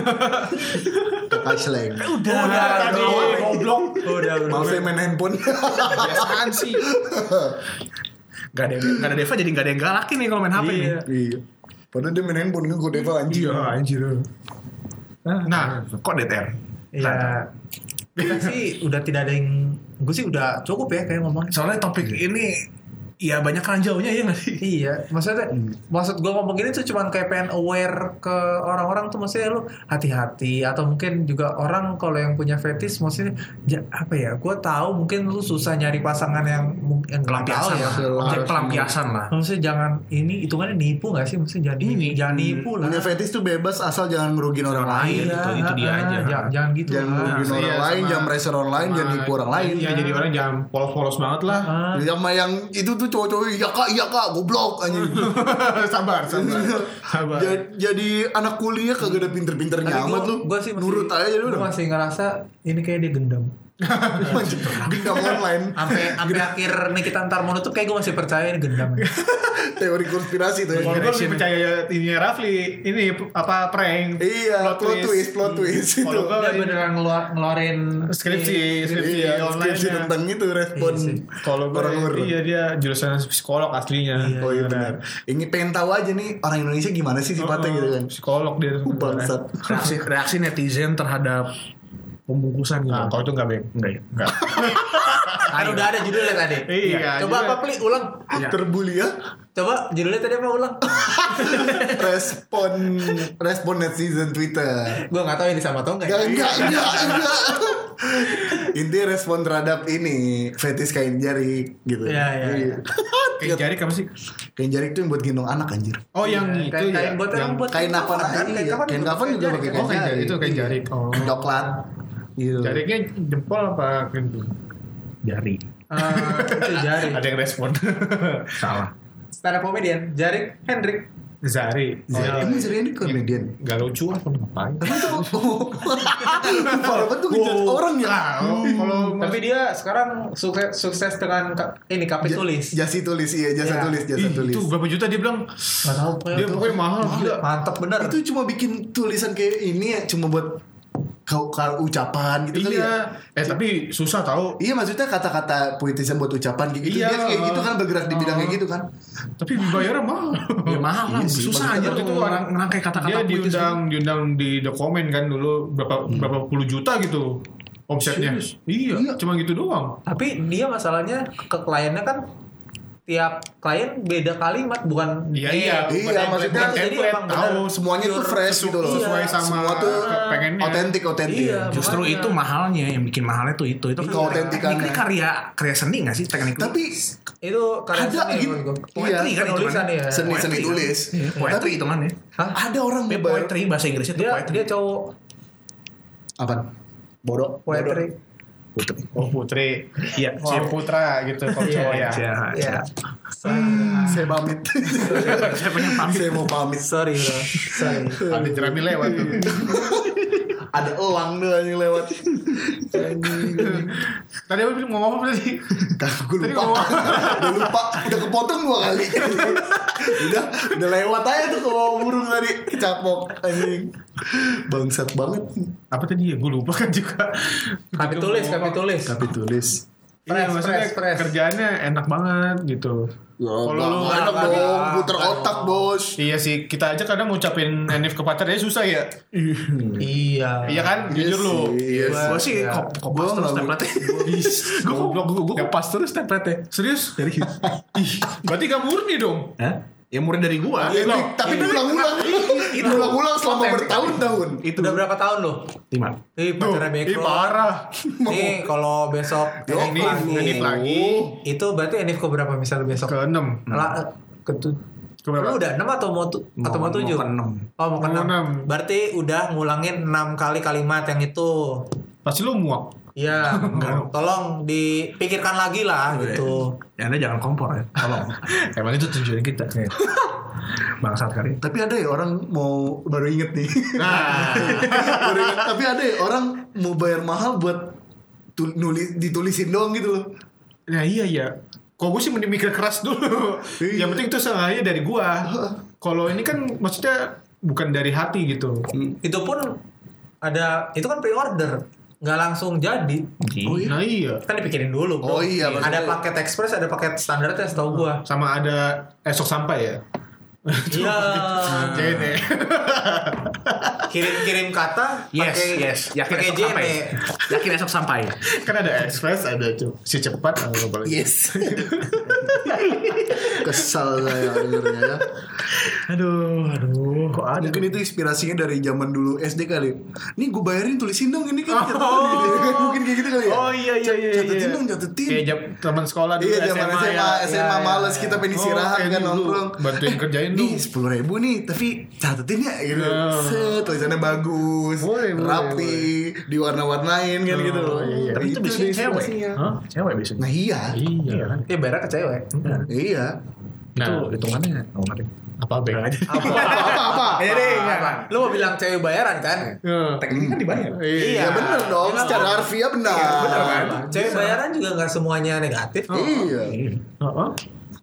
Speaker 4: Kakak slang.
Speaker 1: udah udah
Speaker 2: tadi,
Speaker 1: goblok udah
Speaker 4: Maaf
Speaker 1: udah
Speaker 4: saya main handphone. (laughs)
Speaker 3: Biasaan sih. Gak ada yang- gak ada Deva jadi gak ada yang galakin nih kalau main HP nih.
Speaker 1: Iya.
Speaker 4: Iya. Padahal dia main handphone kan kode apa anjing.
Speaker 2: Iya,
Speaker 3: anjir. Nah, kok DTR?
Speaker 1: Iya.
Speaker 3: Nah, (laughs)
Speaker 1: Kita sih udah tidak ada yang gue sih udah cukup ya kayak ngomongnya
Speaker 3: Soalnya topik ini ya banyak ranjaunya ya nggak sih? Hmm.
Speaker 1: Iya, maksudnya maksud gue ngomong gini tuh cuman kayak pengen aware ke orang-orang tuh maksudnya lu hati-hati atau mungkin juga orang kalau yang punya fetish maksudnya ja- apa ya? Gue tahu mungkin lu susah nyari pasangan yang mung- yang nggak tahu
Speaker 3: Pelampiasan
Speaker 1: ya.
Speaker 3: lah. Objek pelampiasan lah.
Speaker 1: Maksudnya jangan ini hitungannya nipu gak sih? Maksudnya jangan ini, jangan
Speaker 3: hmm.
Speaker 1: nipu lah.
Speaker 4: Punya fetish tuh bebas asal jangan ngerugiin orang lain.
Speaker 3: Iya, itu- itu dia
Speaker 1: ah,
Speaker 3: aja.
Speaker 1: Jangan, jangan gitu
Speaker 4: Jangan
Speaker 1: lah.
Speaker 4: ngerugiin
Speaker 2: iya,
Speaker 4: orang lain,
Speaker 2: sama-
Speaker 4: jangan pressure orang lain, jangan nipu orang lain.
Speaker 2: Iya, jadi orang jangan polos-polos banget
Speaker 4: (laughs)
Speaker 2: lah.
Speaker 1: Ah,
Speaker 4: Sama yang itu tuh cowok-cowok iya kak iya kak goblok anjing.
Speaker 2: sabar, sabar. (laughs) sabar.
Speaker 4: jadi, jadi anak kuliah kagak ada pinter-pinternya
Speaker 1: tapi
Speaker 4: amat
Speaker 1: gua-
Speaker 4: lu.
Speaker 1: gua sih masih,
Speaker 4: nurut aja jadi
Speaker 1: gua
Speaker 4: udah.
Speaker 1: masih ngerasa ini kayak dia gendam.
Speaker 4: Anjing, Gendam online.
Speaker 1: Sampai sampai akhir nih kita ntar mau nutup kayak gue masih percaya ini gendam.
Speaker 4: Teori konspirasi tuh. ya.
Speaker 2: Kalau gue lebih percaya ini Rafli, ini apa prank?
Speaker 4: Iya, plot twist, plot twist itu.
Speaker 2: Hmm. Kalau gue
Speaker 1: Dia beneran ngeluar- ngeluarin
Speaker 2: skripsi, skripsi online.
Speaker 4: Iya,
Speaker 2: ya.
Speaker 4: skripsi tentang itu respon.
Speaker 1: Iya sih.
Speaker 2: Kalau
Speaker 4: orang luar.
Speaker 2: gue iya dia jurusan psikolog aslinya.
Speaker 4: Oh iya benar. Ini pengen tahu aja nih orang Indonesia gimana sih sifatnya gitu kan.
Speaker 2: Psikolog dia.
Speaker 4: Uh, Bangsat.
Speaker 2: Iya.
Speaker 3: Reaksi reaksi netizen terhadap pembungkusan gitu.
Speaker 7: Ah,
Speaker 2: Nah, kalau itu nggak baik.
Speaker 3: Enggak ya? Enggak.
Speaker 1: kan udah ada judulnya tadi.
Speaker 2: Iya,
Speaker 1: Coba
Speaker 2: iya.
Speaker 1: apa pli ulang? Ah,
Speaker 4: Terbulia
Speaker 1: Coba judulnya tadi apa ulang?
Speaker 4: respon respon netizen Twitter.
Speaker 1: Gua nggak tahu ini sama atau enggak.
Speaker 4: Enggak, enggak, enggak, enggak. Intinya respon terhadap ini fetis kain jari gitu.
Speaker 1: Iya, iya, iya.
Speaker 2: Kayak jari Eh, kamu sih?
Speaker 4: Kain jari itu yang buat gendong anak anjir.
Speaker 2: Oh, yang
Speaker 1: Iya,
Speaker 2: itu
Speaker 1: kain- kain
Speaker 2: ya.
Speaker 1: buat
Speaker 2: yang-
Speaker 1: yang buat
Speaker 4: Kain apa
Speaker 1: kan?
Speaker 4: lagi?
Speaker 1: Kain
Speaker 4: Iya.
Speaker 1: kapan
Speaker 4: Kain
Speaker 1: juga
Speaker 4: kapan
Speaker 1: pakai
Speaker 4: juga
Speaker 1: jari.
Speaker 4: pakai
Speaker 2: Oh, kain jari itu kain jari. Oh.
Speaker 4: Coklat. Gitu.
Speaker 2: Jariknya jempol apa
Speaker 3: Jari.
Speaker 1: Ah, itu jari.
Speaker 2: Ada yang respon. (laughs)
Speaker 3: Salah.
Speaker 1: Stand up comedian Jarik Hendrik.
Speaker 2: Zari. iya.
Speaker 4: Oh, ini serian ini komedian.
Speaker 2: Gak lucu apa ngapain?
Speaker 4: Tapi itu oh, parah banget tuh ngejudge orang ya.
Speaker 2: Kalau kalau
Speaker 1: Tapi dia sekarang sukses, sukses dengan ka- ini kafe tulis.
Speaker 4: Jasi tulis iya, jasa
Speaker 1: Iya.
Speaker 4: tulis, jasa
Speaker 2: Ih,
Speaker 4: tulis.
Speaker 2: itu berapa juta dia bilang?
Speaker 1: Gak tahu
Speaker 2: Dia pokoknya mahal gila.
Speaker 1: Mantap bener.
Speaker 4: Itu cuma bikin tulisan kayak ini ya, cuma buat kau kau ucapan gitu kali ya.
Speaker 2: Iya. Eh tapi susah tau.
Speaker 4: Iya maksudnya kata-kata puitisan buat ucapan kayak gitu.
Speaker 2: Iya.
Speaker 4: Dia kayak gitu kan bergerak di bidang kayak gitu kan.
Speaker 2: Tapi dibayarnya mahal. (laughs)
Speaker 7: Ya mahal lah, susah aja
Speaker 2: Waktu
Speaker 7: tuh
Speaker 2: itu
Speaker 7: orang ngerangkai kata-kata
Speaker 2: Dia
Speaker 7: puitis tuh.
Speaker 2: kan diundang
Speaker 3: gitu.
Speaker 2: diundang di The Comment kan dulu berapa berapa puluh juta gitu omsetnya. Iya, cuma gitu doang.
Speaker 1: Tapi dia masalahnya ke kliennya kan tiap klien beda kalimat bukan
Speaker 2: Iya,
Speaker 1: eh,
Speaker 2: iya.
Speaker 1: bukan
Speaker 4: Iya,
Speaker 1: template.
Speaker 4: maksudnya
Speaker 1: Jadi
Speaker 2: template,
Speaker 1: emang
Speaker 2: tahu
Speaker 1: bener.
Speaker 4: Semuanya tuh
Speaker 1: Pure
Speaker 4: fresh gitu loh.
Speaker 2: Sesuai sama
Speaker 4: Semua tuh
Speaker 2: pengennya.
Speaker 4: otentik otentik.
Speaker 1: Iya.
Speaker 7: Justru
Speaker 1: Makanya.
Speaker 7: itu mahalnya yang bikin mahalnya tuh itu.
Speaker 3: Iya,
Speaker 7: Itu
Speaker 4: Keautentikannya.
Speaker 7: ini karya karya seni gak sih teknik lu?
Speaker 4: Tapi
Speaker 1: itu karena
Speaker 4: Ada gitu.
Speaker 7: poetry
Speaker 1: Iya,
Speaker 7: kan itu
Speaker 1: penulisan
Speaker 7: kan.
Speaker 1: ya.
Speaker 4: seni-seni
Speaker 7: Poetry.
Speaker 4: tulis.
Speaker 7: Iya, Poetry itu kan ya.
Speaker 1: Hah?
Speaker 4: Ada orang
Speaker 3: Iya,
Speaker 7: Ya,
Speaker 4: bayar-
Speaker 7: poetry bahasa Inggrisnya itu
Speaker 1: Dia
Speaker 7: poetry.
Speaker 1: dia cowok
Speaker 4: apa? Bodoh.
Speaker 1: poetry.
Speaker 4: Putri.
Speaker 2: Oh putri,
Speaker 7: Iya,
Speaker 2: oh, putra gitu kalau
Speaker 1: Iya,
Speaker 2: cowok ya.
Speaker 7: Iya, iya.
Speaker 1: Iya.
Speaker 4: (laughs)
Speaker 1: Hmm.
Speaker 4: Saya pamit.
Speaker 7: Saya punya pamit.
Speaker 4: Saya mau pamit.
Speaker 1: Sorry bro. Sorry.
Speaker 2: Ada jerami lewat (laughs) tuh.
Speaker 4: Ada elang doang yang lewat.
Speaker 2: Tadi apa mau ngomong apa tadi?
Speaker 4: Gue
Speaker 2: Tadi
Speaker 4: lupa.
Speaker 2: ngomong.
Speaker 4: (laughs) Udah lupa. Udah kepotong dua kali. (laughs) udah, udah lewat aja tuh kalau burung tadi kecapok anjing. Bangsat banget.
Speaker 2: (laughs) Apa tadi ya? Gue lupa kan juga.
Speaker 1: Kami tulis, kami tulis.
Speaker 4: Tapi tulis.
Speaker 2: Iya,
Speaker 1: Press,
Speaker 2: maksudnya
Speaker 1: press, press.
Speaker 2: kerjaannya enak banget gitu.
Speaker 4: Ya,
Speaker 2: Kalau lu
Speaker 4: nggak enak dong, puter otak bos.
Speaker 2: Iya sih, kita aja kadang ngucapin enif ke pacar ya susah ya.
Speaker 1: Iya.
Speaker 2: Iya kan? Jujur lu.
Speaker 4: Iya sih.
Speaker 7: Gue sih
Speaker 1: Iya.
Speaker 7: kop- kopas
Speaker 4: Gua
Speaker 7: terus
Speaker 4: nggak-
Speaker 7: template-nya.
Speaker 2: Gue goblok gue gue
Speaker 7: Kopas terus template-nya.
Speaker 2: serius. Ih, berarti gak murni dong.
Speaker 7: Hah? Ya murid dari gua.
Speaker 4: Iya, tapi- tapi diulang-ulang. Diulang-ulang selama bertahun-tahun.
Speaker 1: Itu. Udah berapa tahun lo?
Speaker 7: Lima.
Speaker 1: Ih,
Speaker 2: Tuh,
Speaker 1: pacarnya
Speaker 2: ih
Speaker 1: Bekro.
Speaker 2: parah.
Speaker 1: Nih, kalau besok Enif
Speaker 2: Ini ini
Speaker 1: lagi.
Speaker 2: lagi
Speaker 1: Itu berarti Enif ke berapa misalnya besok?
Speaker 2: ke enam.
Speaker 1: Lah, ke tu-
Speaker 2: Ke berapa?
Speaker 1: Lu udah 6 atau mau tu- atau mau
Speaker 7: Mau-
Speaker 1: 7?
Speaker 7: mau ke enam.
Speaker 1: Oh, mau ke
Speaker 2: Mau
Speaker 1: 6.
Speaker 2: enam.
Speaker 1: Berarti udah ngulangin 6 kali kalimat yang itu.
Speaker 2: Pasti lu muak.
Speaker 1: Iya, tolong dipikirkan lagi lah gitu.
Speaker 7: Ya anda jangan kompor ya. Tolong. (laughs) Emang itu tujuan kita. Bangsat kali.
Speaker 4: Tapi ada ya orang mau baru inget nih. (laughs) Baru inget. Tapi ada ya orang mau bayar mahal buat tul- nulis ditulisin doang gitu loh.
Speaker 2: Nah iya iya. Kok gue sih mending mikir keras dulu.
Speaker 4: Iya.
Speaker 2: Yang penting itu sengaja dari gua. Kalau ini kan maksudnya bukan dari hati gitu.
Speaker 1: Itu pun ada itu kan pre-order, nggak langsung jadi.
Speaker 7: Oh,
Speaker 2: Nah iya.
Speaker 1: Kan dipikirin dulu. Bro.
Speaker 4: Oh iya,
Speaker 1: Ada paket express, ada paket standar tes tau
Speaker 2: (laughs)
Speaker 1: gua.
Speaker 2: Sama ada esok sampai ya.
Speaker 1: Iya.
Speaker 4: Ah.
Speaker 2: Jadi
Speaker 1: Kirim-kirim kata
Speaker 7: Yes,
Speaker 1: pakai
Speaker 7: yes.
Speaker 3: Ya,
Speaker 7: Yakin
Speaker 1: pakai
Speaker 7: esok
Speaker 1: JNE.
Speaker 7: sampai. Yakin esok sampai.
Speaker 2: (laughs) kan ada express ada tuh si cepat ada apa lagi?
Speaker 4: Yes. (laughs) Kesal saya dengernya ya.
Speaker 7: Aduh, aduh. Kok ada?
Speaker 4: Mungkin itu inspirasinya dari zaman dulu SD kali. Nih gue bayarin tulisin dong ini
Speaker 2: (laughs)
Speaker 4: kan. (laughs) Mungkin kayak gitu kali ya.
Speaker 2: Oh iya iya iya.
Speaker 4: Catetin
Speaker 2: iya.
Speaker 4: dong, catetin.
Speaker 2: Kayak jam teman sekolah dulu
Speaker 4: Iya zaman
Speaker 2: ya.
Speaker 4: SMA, SMA, males kita pengen
Speaker 2: Oh,
Speaker 4: istirahat
Speaker 2: kayak
Speaker 4: kan
Speaker 2: dulu.
Speaker 4: nongkrong.
Speaker 2: Bantuin kerjain
Speaker 4: nih
Speaker 2: dong.
Speaker 4: sepuluh ribu nih, tapi catetin ya gitu.
Speaker 2: Nah.
Speaker 4: Set, tulisannya bagus,
Speaker 2: Boleh, boleh,
Speaker 4: rapi, diwarna-warnain kan gitu loh.
Speaker 2: iya, iya.
Speaker 7: Tapi itu
Speaker 4: Gitu
Speaker 7: biasanya ya. cewek.
Speaker 4: inspirasinya.
Speaker 7: Hah? Cewek biasanya.
Speaker 4: Nah iya,
Speaker 2: Iya.
Speaker 1: Iya, bayarnya ke cewek.
Speaker 4: iya.
Speaker 2: Nah,
Speaker 7: Itu hitungannya. Oh, ngerti.
Speaker 2: apa bang?
Speaker 4: Apa-apa?
Speaker 1: Ya deh, Lu mau bilang cewek bayaran kan?
Speaker 7: Teknik kan dibayar.
Speaker 4: Iya bener Iya, kan? dong, secara harfiah benar.
Speaker 1: Iya, Ah, kan? Cewek bayaran juga nggak semuanya negatif.
Speaker 4: Iya,
Speaker 2: Heeh.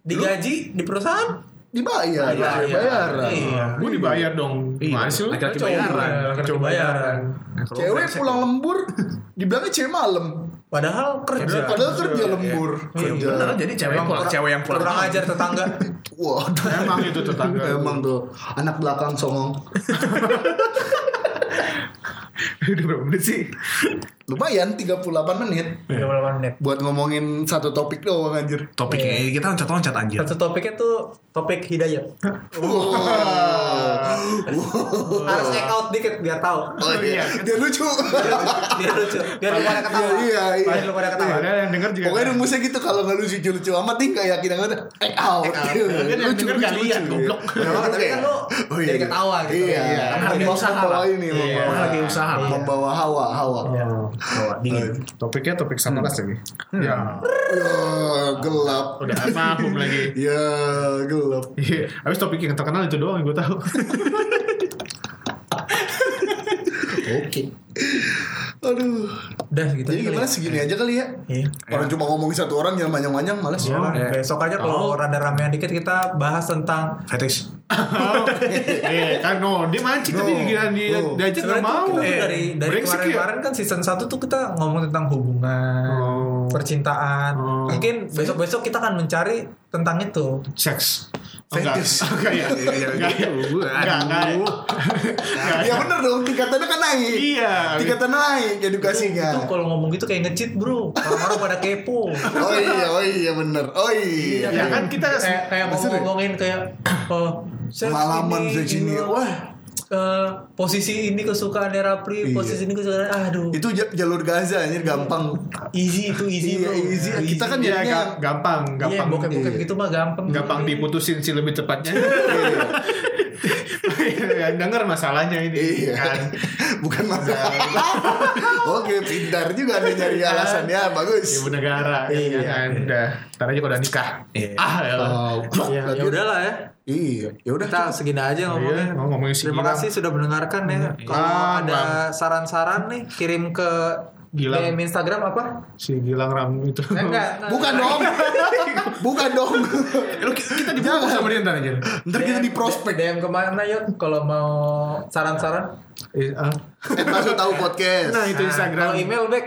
Speaker 1: Digaji di perusahaan?
Speaker 4: dibayar, dibayar.
Speaker 1: Iya.
Speaker 2: Gue dibayar dong.
Speaker 7: Iya.
Speaker 2: Masih lu
Speaker 7: Laki-laki
Speaker 2: cowok. Iya,
Speaker 7: bayaran.
Speaker 1: Laki-laki
Speaker 2: Cowok
Speaker 1: bayaran.
Speaker 7: Nah,
Speaker 4: Cewek pulang lembur, dibilangnya cewek malam.
Speaker 1: Padahal kerja.
Speaker 4: Padahal kerja lembur. Kerja.
Speaker 7: Bener, jadi cewek pulang, cewek yang pulang.
Speaker 1: Kurang ajar tetangga.
Speaker 4: Waduh.
Speaker 2: Emang itu
Speaker 4: (laughs)
Speaker 2: tetangga.
Speaker 4: Emang tuh anak belakang songong.
Speaker 7: Udah berapa menit sih?
Speaker 4: Lumayan 38 menit
Speaker 7: Iya,
Speaker 1: 38 menit.
Speaker 4: buat ngomongin satu topik doang anjir.
Speaker 7: Topiknya kita loncat-loncat anjir.
Speaker 1: Satu topiknya tuh topik hidayat.
Speaker 2: Eh,
Speaker 4: Wow.
Speaker 1: Oh. Harus check out dikit biar tahu.
Speaker 4: Oh iya, dia lucu.
Speaker 1: Biar lucu. Biar lu pada ketawa.
Speaker 4: Iya, iya.
Speaker 1: Biar lu pada ketawa.
Speaker 2: Ada yang denger juga. kan.
Speaker 4: Pokoknya rumusnya gitu kalau nggak lucu lucu amat nih nggak yakin banget. Eh out. Lucu Iya.
Speaker 7: denger nggak lihat, goblok.
Speaker 1: Memang, tapi kan lu
Speaker 4: Oh, iya,
Speaker 1: jadi
Speaker 4: iya.
Speaker 1: ketawa gitu.
Speaker 4: Iya.
Speaker 7: Kan harga
Speaker 4: Membawa-
Speaker 7: usaha
Speaker 4: membawa
Speaker 7: lah.
Speaker 4: ini, membawa-
Speaker 7: Lagi usaha.
Speaker 3: Iya.
Speaker 7: Iya.
Speaker 4: membawa hawa hawa.
Speaker 2: Oh. Bawa dingin. Topiknya topik samaras lagi. Ya.
Speaker 4: Ya, gelap.
Speaker 2: Udah mabuk lagi.
Speaker 4: Ya, gelap.
Speaker 2: Iya, habis topik yang terkenal itu doang yang gue tahu.
Speaker 4: Oke. Aduh.
Speaker 1: Udah gitu
Speaker 4: Jadi
Speaker 1: aja kali ya.
Speaker 4: gimana segini aja kali ya?
Speaker 1: Iya.
Speaker 4: Orang cuma ngomongin satu orang yang panjang-panjang males.
Speaker 1: Iya lah, besok aja kalau rada ramean dikit kita bahas tentang
Speaker 7: fetish
Speaker 2: Eh, kan no, dia mancing
Speaker 4: No,
Speaker 2: tadi giliran dia
Speaker 4: no.
Speaker 2: diajak nggak
Speaker 1: Sebenarnya
Speaker 2: mau.
Speaker 1: tuh kita
Speaker 2: Eh,
Speaker 1: tuh dari dari
Speaker 2: brengsek ya.
Speaker 1: kemarin-kemarin kan season 1 tuh kita ngomong tentang hubungan,
Speaker 2: Oh.
Speaker 1: percintaan.
Speaker 2: Oh.
Speaker 1: Mungkin besok-besok kita akan mencari tentang itu.
Speaker 2: Seks.
Speaker 4: Fetish.
Speaker 2: Enggak ya. Enggak ya. Enggak, enggak.
Speaker 4: Ya bener dong, tingkatannya kan naik.
Speaker 2: Iya.
Speaker 4: Tingkatannya naik
Speaker 1: Itu
Speaker 4: edukasinya.
Speaker 1: kalau ngomong gitu kayak ngecit, Bro. Orang-orang pada kepo.
Speaker 4: Oh iya, oh iya bener. Oh iya.
Speaker 2: Ya kan kita
Speaker 1: kayak kayak mau
Speaker 4: Seru ya?
Speaker 1: ngomongin kayak (clears throat) oh, seks ini,
Speaker 4: Pengalaman seks ini,
Speaker 2: ya."
Speaker 1: ini,
Speaker 4: wah.
Speaker 1: eh, posisi ini kesukaan Rapli,
Speaker 4: Iya.
Speaker 1: posisi ini kesukaan aduh.
Speaker 4: Itu ja- jalur Gaza anjir gampang.
Speaker 1: easy itu easy
Speaker 4: Iya,
Speaker 1: bro.
Speaker 4: easy.
Speaker 1: Nah,
Speaker 4: Kita kan
Speaker 2: ya
Speaker 4: jadinya
Speaker 2: ga- gampang,
Speaker 1: Iya,
Speaker 2: gampang.
Speaker 1: bokep-bokep
Speaker 4: Iya.
Speaker 1: gitu mah gampang.
Speaker 2: gampang diputusin sih lebih
Speaker 1: (laughs)
Speaker 2: tepatnya. Iya, Dengar masalahnya ini
Speaker 4: Iya. (laughs)
Speaker 2: kan.
Speaker 4: Bukan masalah. Oke, pintar juga nih nyari alasan ya, bagus.
Speaker 2: Ibu negara iya.
Speaker 4: Iya.
Speaker 2: kan. Udah, ntar aja kalau udah nikah.
Speaker 1: Iya.
Speaker 2: Ah, ya.
Speaker 4: Oh,
Speaker 1: Ya, ya udahlah ya.
Speaker 4: Iya, ya udah.
Speaker 1: Kita segini aja ngomongnya.
Speaker 2: Iya, ngomongin si
Speaker 1: Terima
Speaker 2: Gilang.
Speaker 1: kasih sudah mendengarkan ya.
Speaker 4: Iya.
Speaker 1: Kalau
Speaker 2: Ah,
Speaker 1: ada saran-saran nih kirim ke
Speaker 2: Gilang.
Speaker 1: DM Instagram
Speaker 4: (laughs)
Speaker 1: apa?
Speaker 2: Si Gilang Ram itu.
Speaker 1: Eh, enggak.
Speaker 4: Bukan dong. Bukan dong.
Speaker 2: Lu kita dibungkus sama dia ntar aja.
Speaker 4: Ntar
Speaker 1: Iya.
Speaker 4: kita di prospek.
Speaker 1: DM kemana yuk kalau mau saran-saran?
Speaker 2: Eh, ah.
Speaker 4: Masuk tahu podcast.
Speaker 2: Nah, itu
Speaker 1: Kalau
Speaker 2: Instagram.
Speaker 1: email back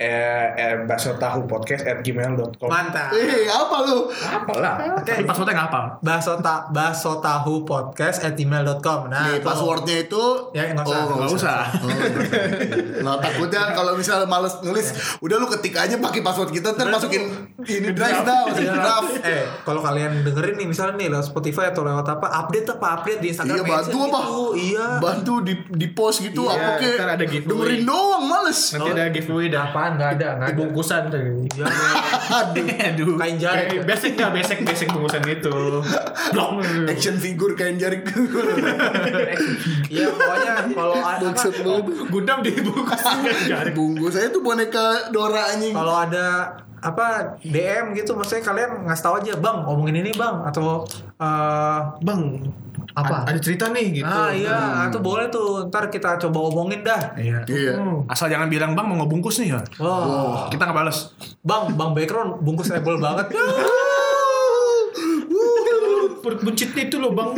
Speaker 7: eh, eh baso tahu podcast at gmail.com
Speaker 1: mantap.
Speaker 4: Eh, apa lu?
Speaker 7: apalah
Speaker 1: Oke.
Speaker 7: tapi passwordnya nggak apa
Speaker 1: Baso ta baso tahu podcast at gmail.com. Nah,
Speaker 4: Nih,
Speaker 1: kalau-
Speaker 4: passwordnya itu
Speaker 1: Ya, nggak usah.
Speaker 4: Oh, nggak
Speaker 7: nggak
Speaker 4: usah.
Speaker 7: usah
Speaker 4: Oh, nah, takutnya kalau misalnya males nulis, udah lu ketik aja pakai password kita ntar masukin ini drive dah, masukin draft.
Speaker 1: (laughs) Eh, kalau kalian dengerin nih misalnya nih lewat Spotify atau lewat apa, update apa update di Instagram.
Speaker 4: Iya bantu
Speaker 1: mention
Speaker 4: apa?
Speaker 1: gitu.
Speaker 4: (laughs)
Speaker 1: Iya.
Speaker 4: Bantu di di post gitu
Speaker 2: Iya,
Speaker 4: apa kek.
Speaker 2: ntar ada giveaway.
Speaker 4: Dengerin doang males.
Speaker 2: Nanti ada giveaway dah.
Speaker 1: Oh. Apaan enggak ada, enggak ada.
Speaker 2: Bungkusan tadi.
Speaker 1: Iya.
Speaker 2: Aduh.
Speaker 1: Kain jarik.
Speaker 2: Kayak Eh, Basic nggak basic basic bungkusan
Speaker 1: (laughs)
Speaker 2: itu. Blok.
Speaker 1: Eh,
Speaker 4: Action figure kain jarik.
Speaker 1: Iya, pokoknya kalau ada
Speaker 4: (laughs) Maksud
Speaker 1: apa,
Speaker 4: lu
Speaker 2: Gundam
Speaker 4: (laughs)
Speaker 2: dibungkus kain jarik.
Speaker 4: bungkus saya tuh boneka Dora anjing.
Speaker 1: kalau ada apa DM gitu maksudnya kalian ngasih tahu aja bang ngomongin ini bang atau eh,
Speaker 7: bang
Speaker 1: Apa?
Speaker 7: ada cerita nih gitu
Speaker 1: ah iya itu boleh tuh ntar kita coba omongin dah
Speaker 7: Iya.
Speaker 3: Hmm.
Speaker 4: Iya.
Speaker 7: asal jangan bilang bang mau ngebungkus nih ya
Speaker 1: Wah,
Speaker 7: kita nggak balas
Speaker 1: bang bang background bungkus ebol banget
Speaker 2: Perut buncitnya itu loh
Speaker 4: (laughs)
Speaker 2: bang.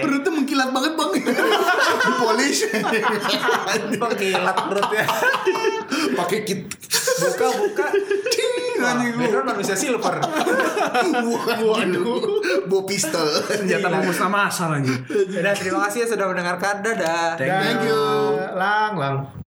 Speaker 4: Perutnya mengkilat banget bang Di (laughs) polish
Speaker 1: bang kilat (laughs) perutnya
Speaker 4: Pakai kit
Speaker 1: buka buka
Speaker 4: Ting
Speaker 1: Wah,
Speaker 4: anjing lu.
Speaker 1: background manusia silver
Speaker 4: (laughs) Waduh Bawa pistol
Speaker 7: senjata memusnah masa lagi
Speaker 1: Udah, terima kasih ya sudah mendengarkan dadah
Speaker 4: Thank you
Speaker 2: Lang lang.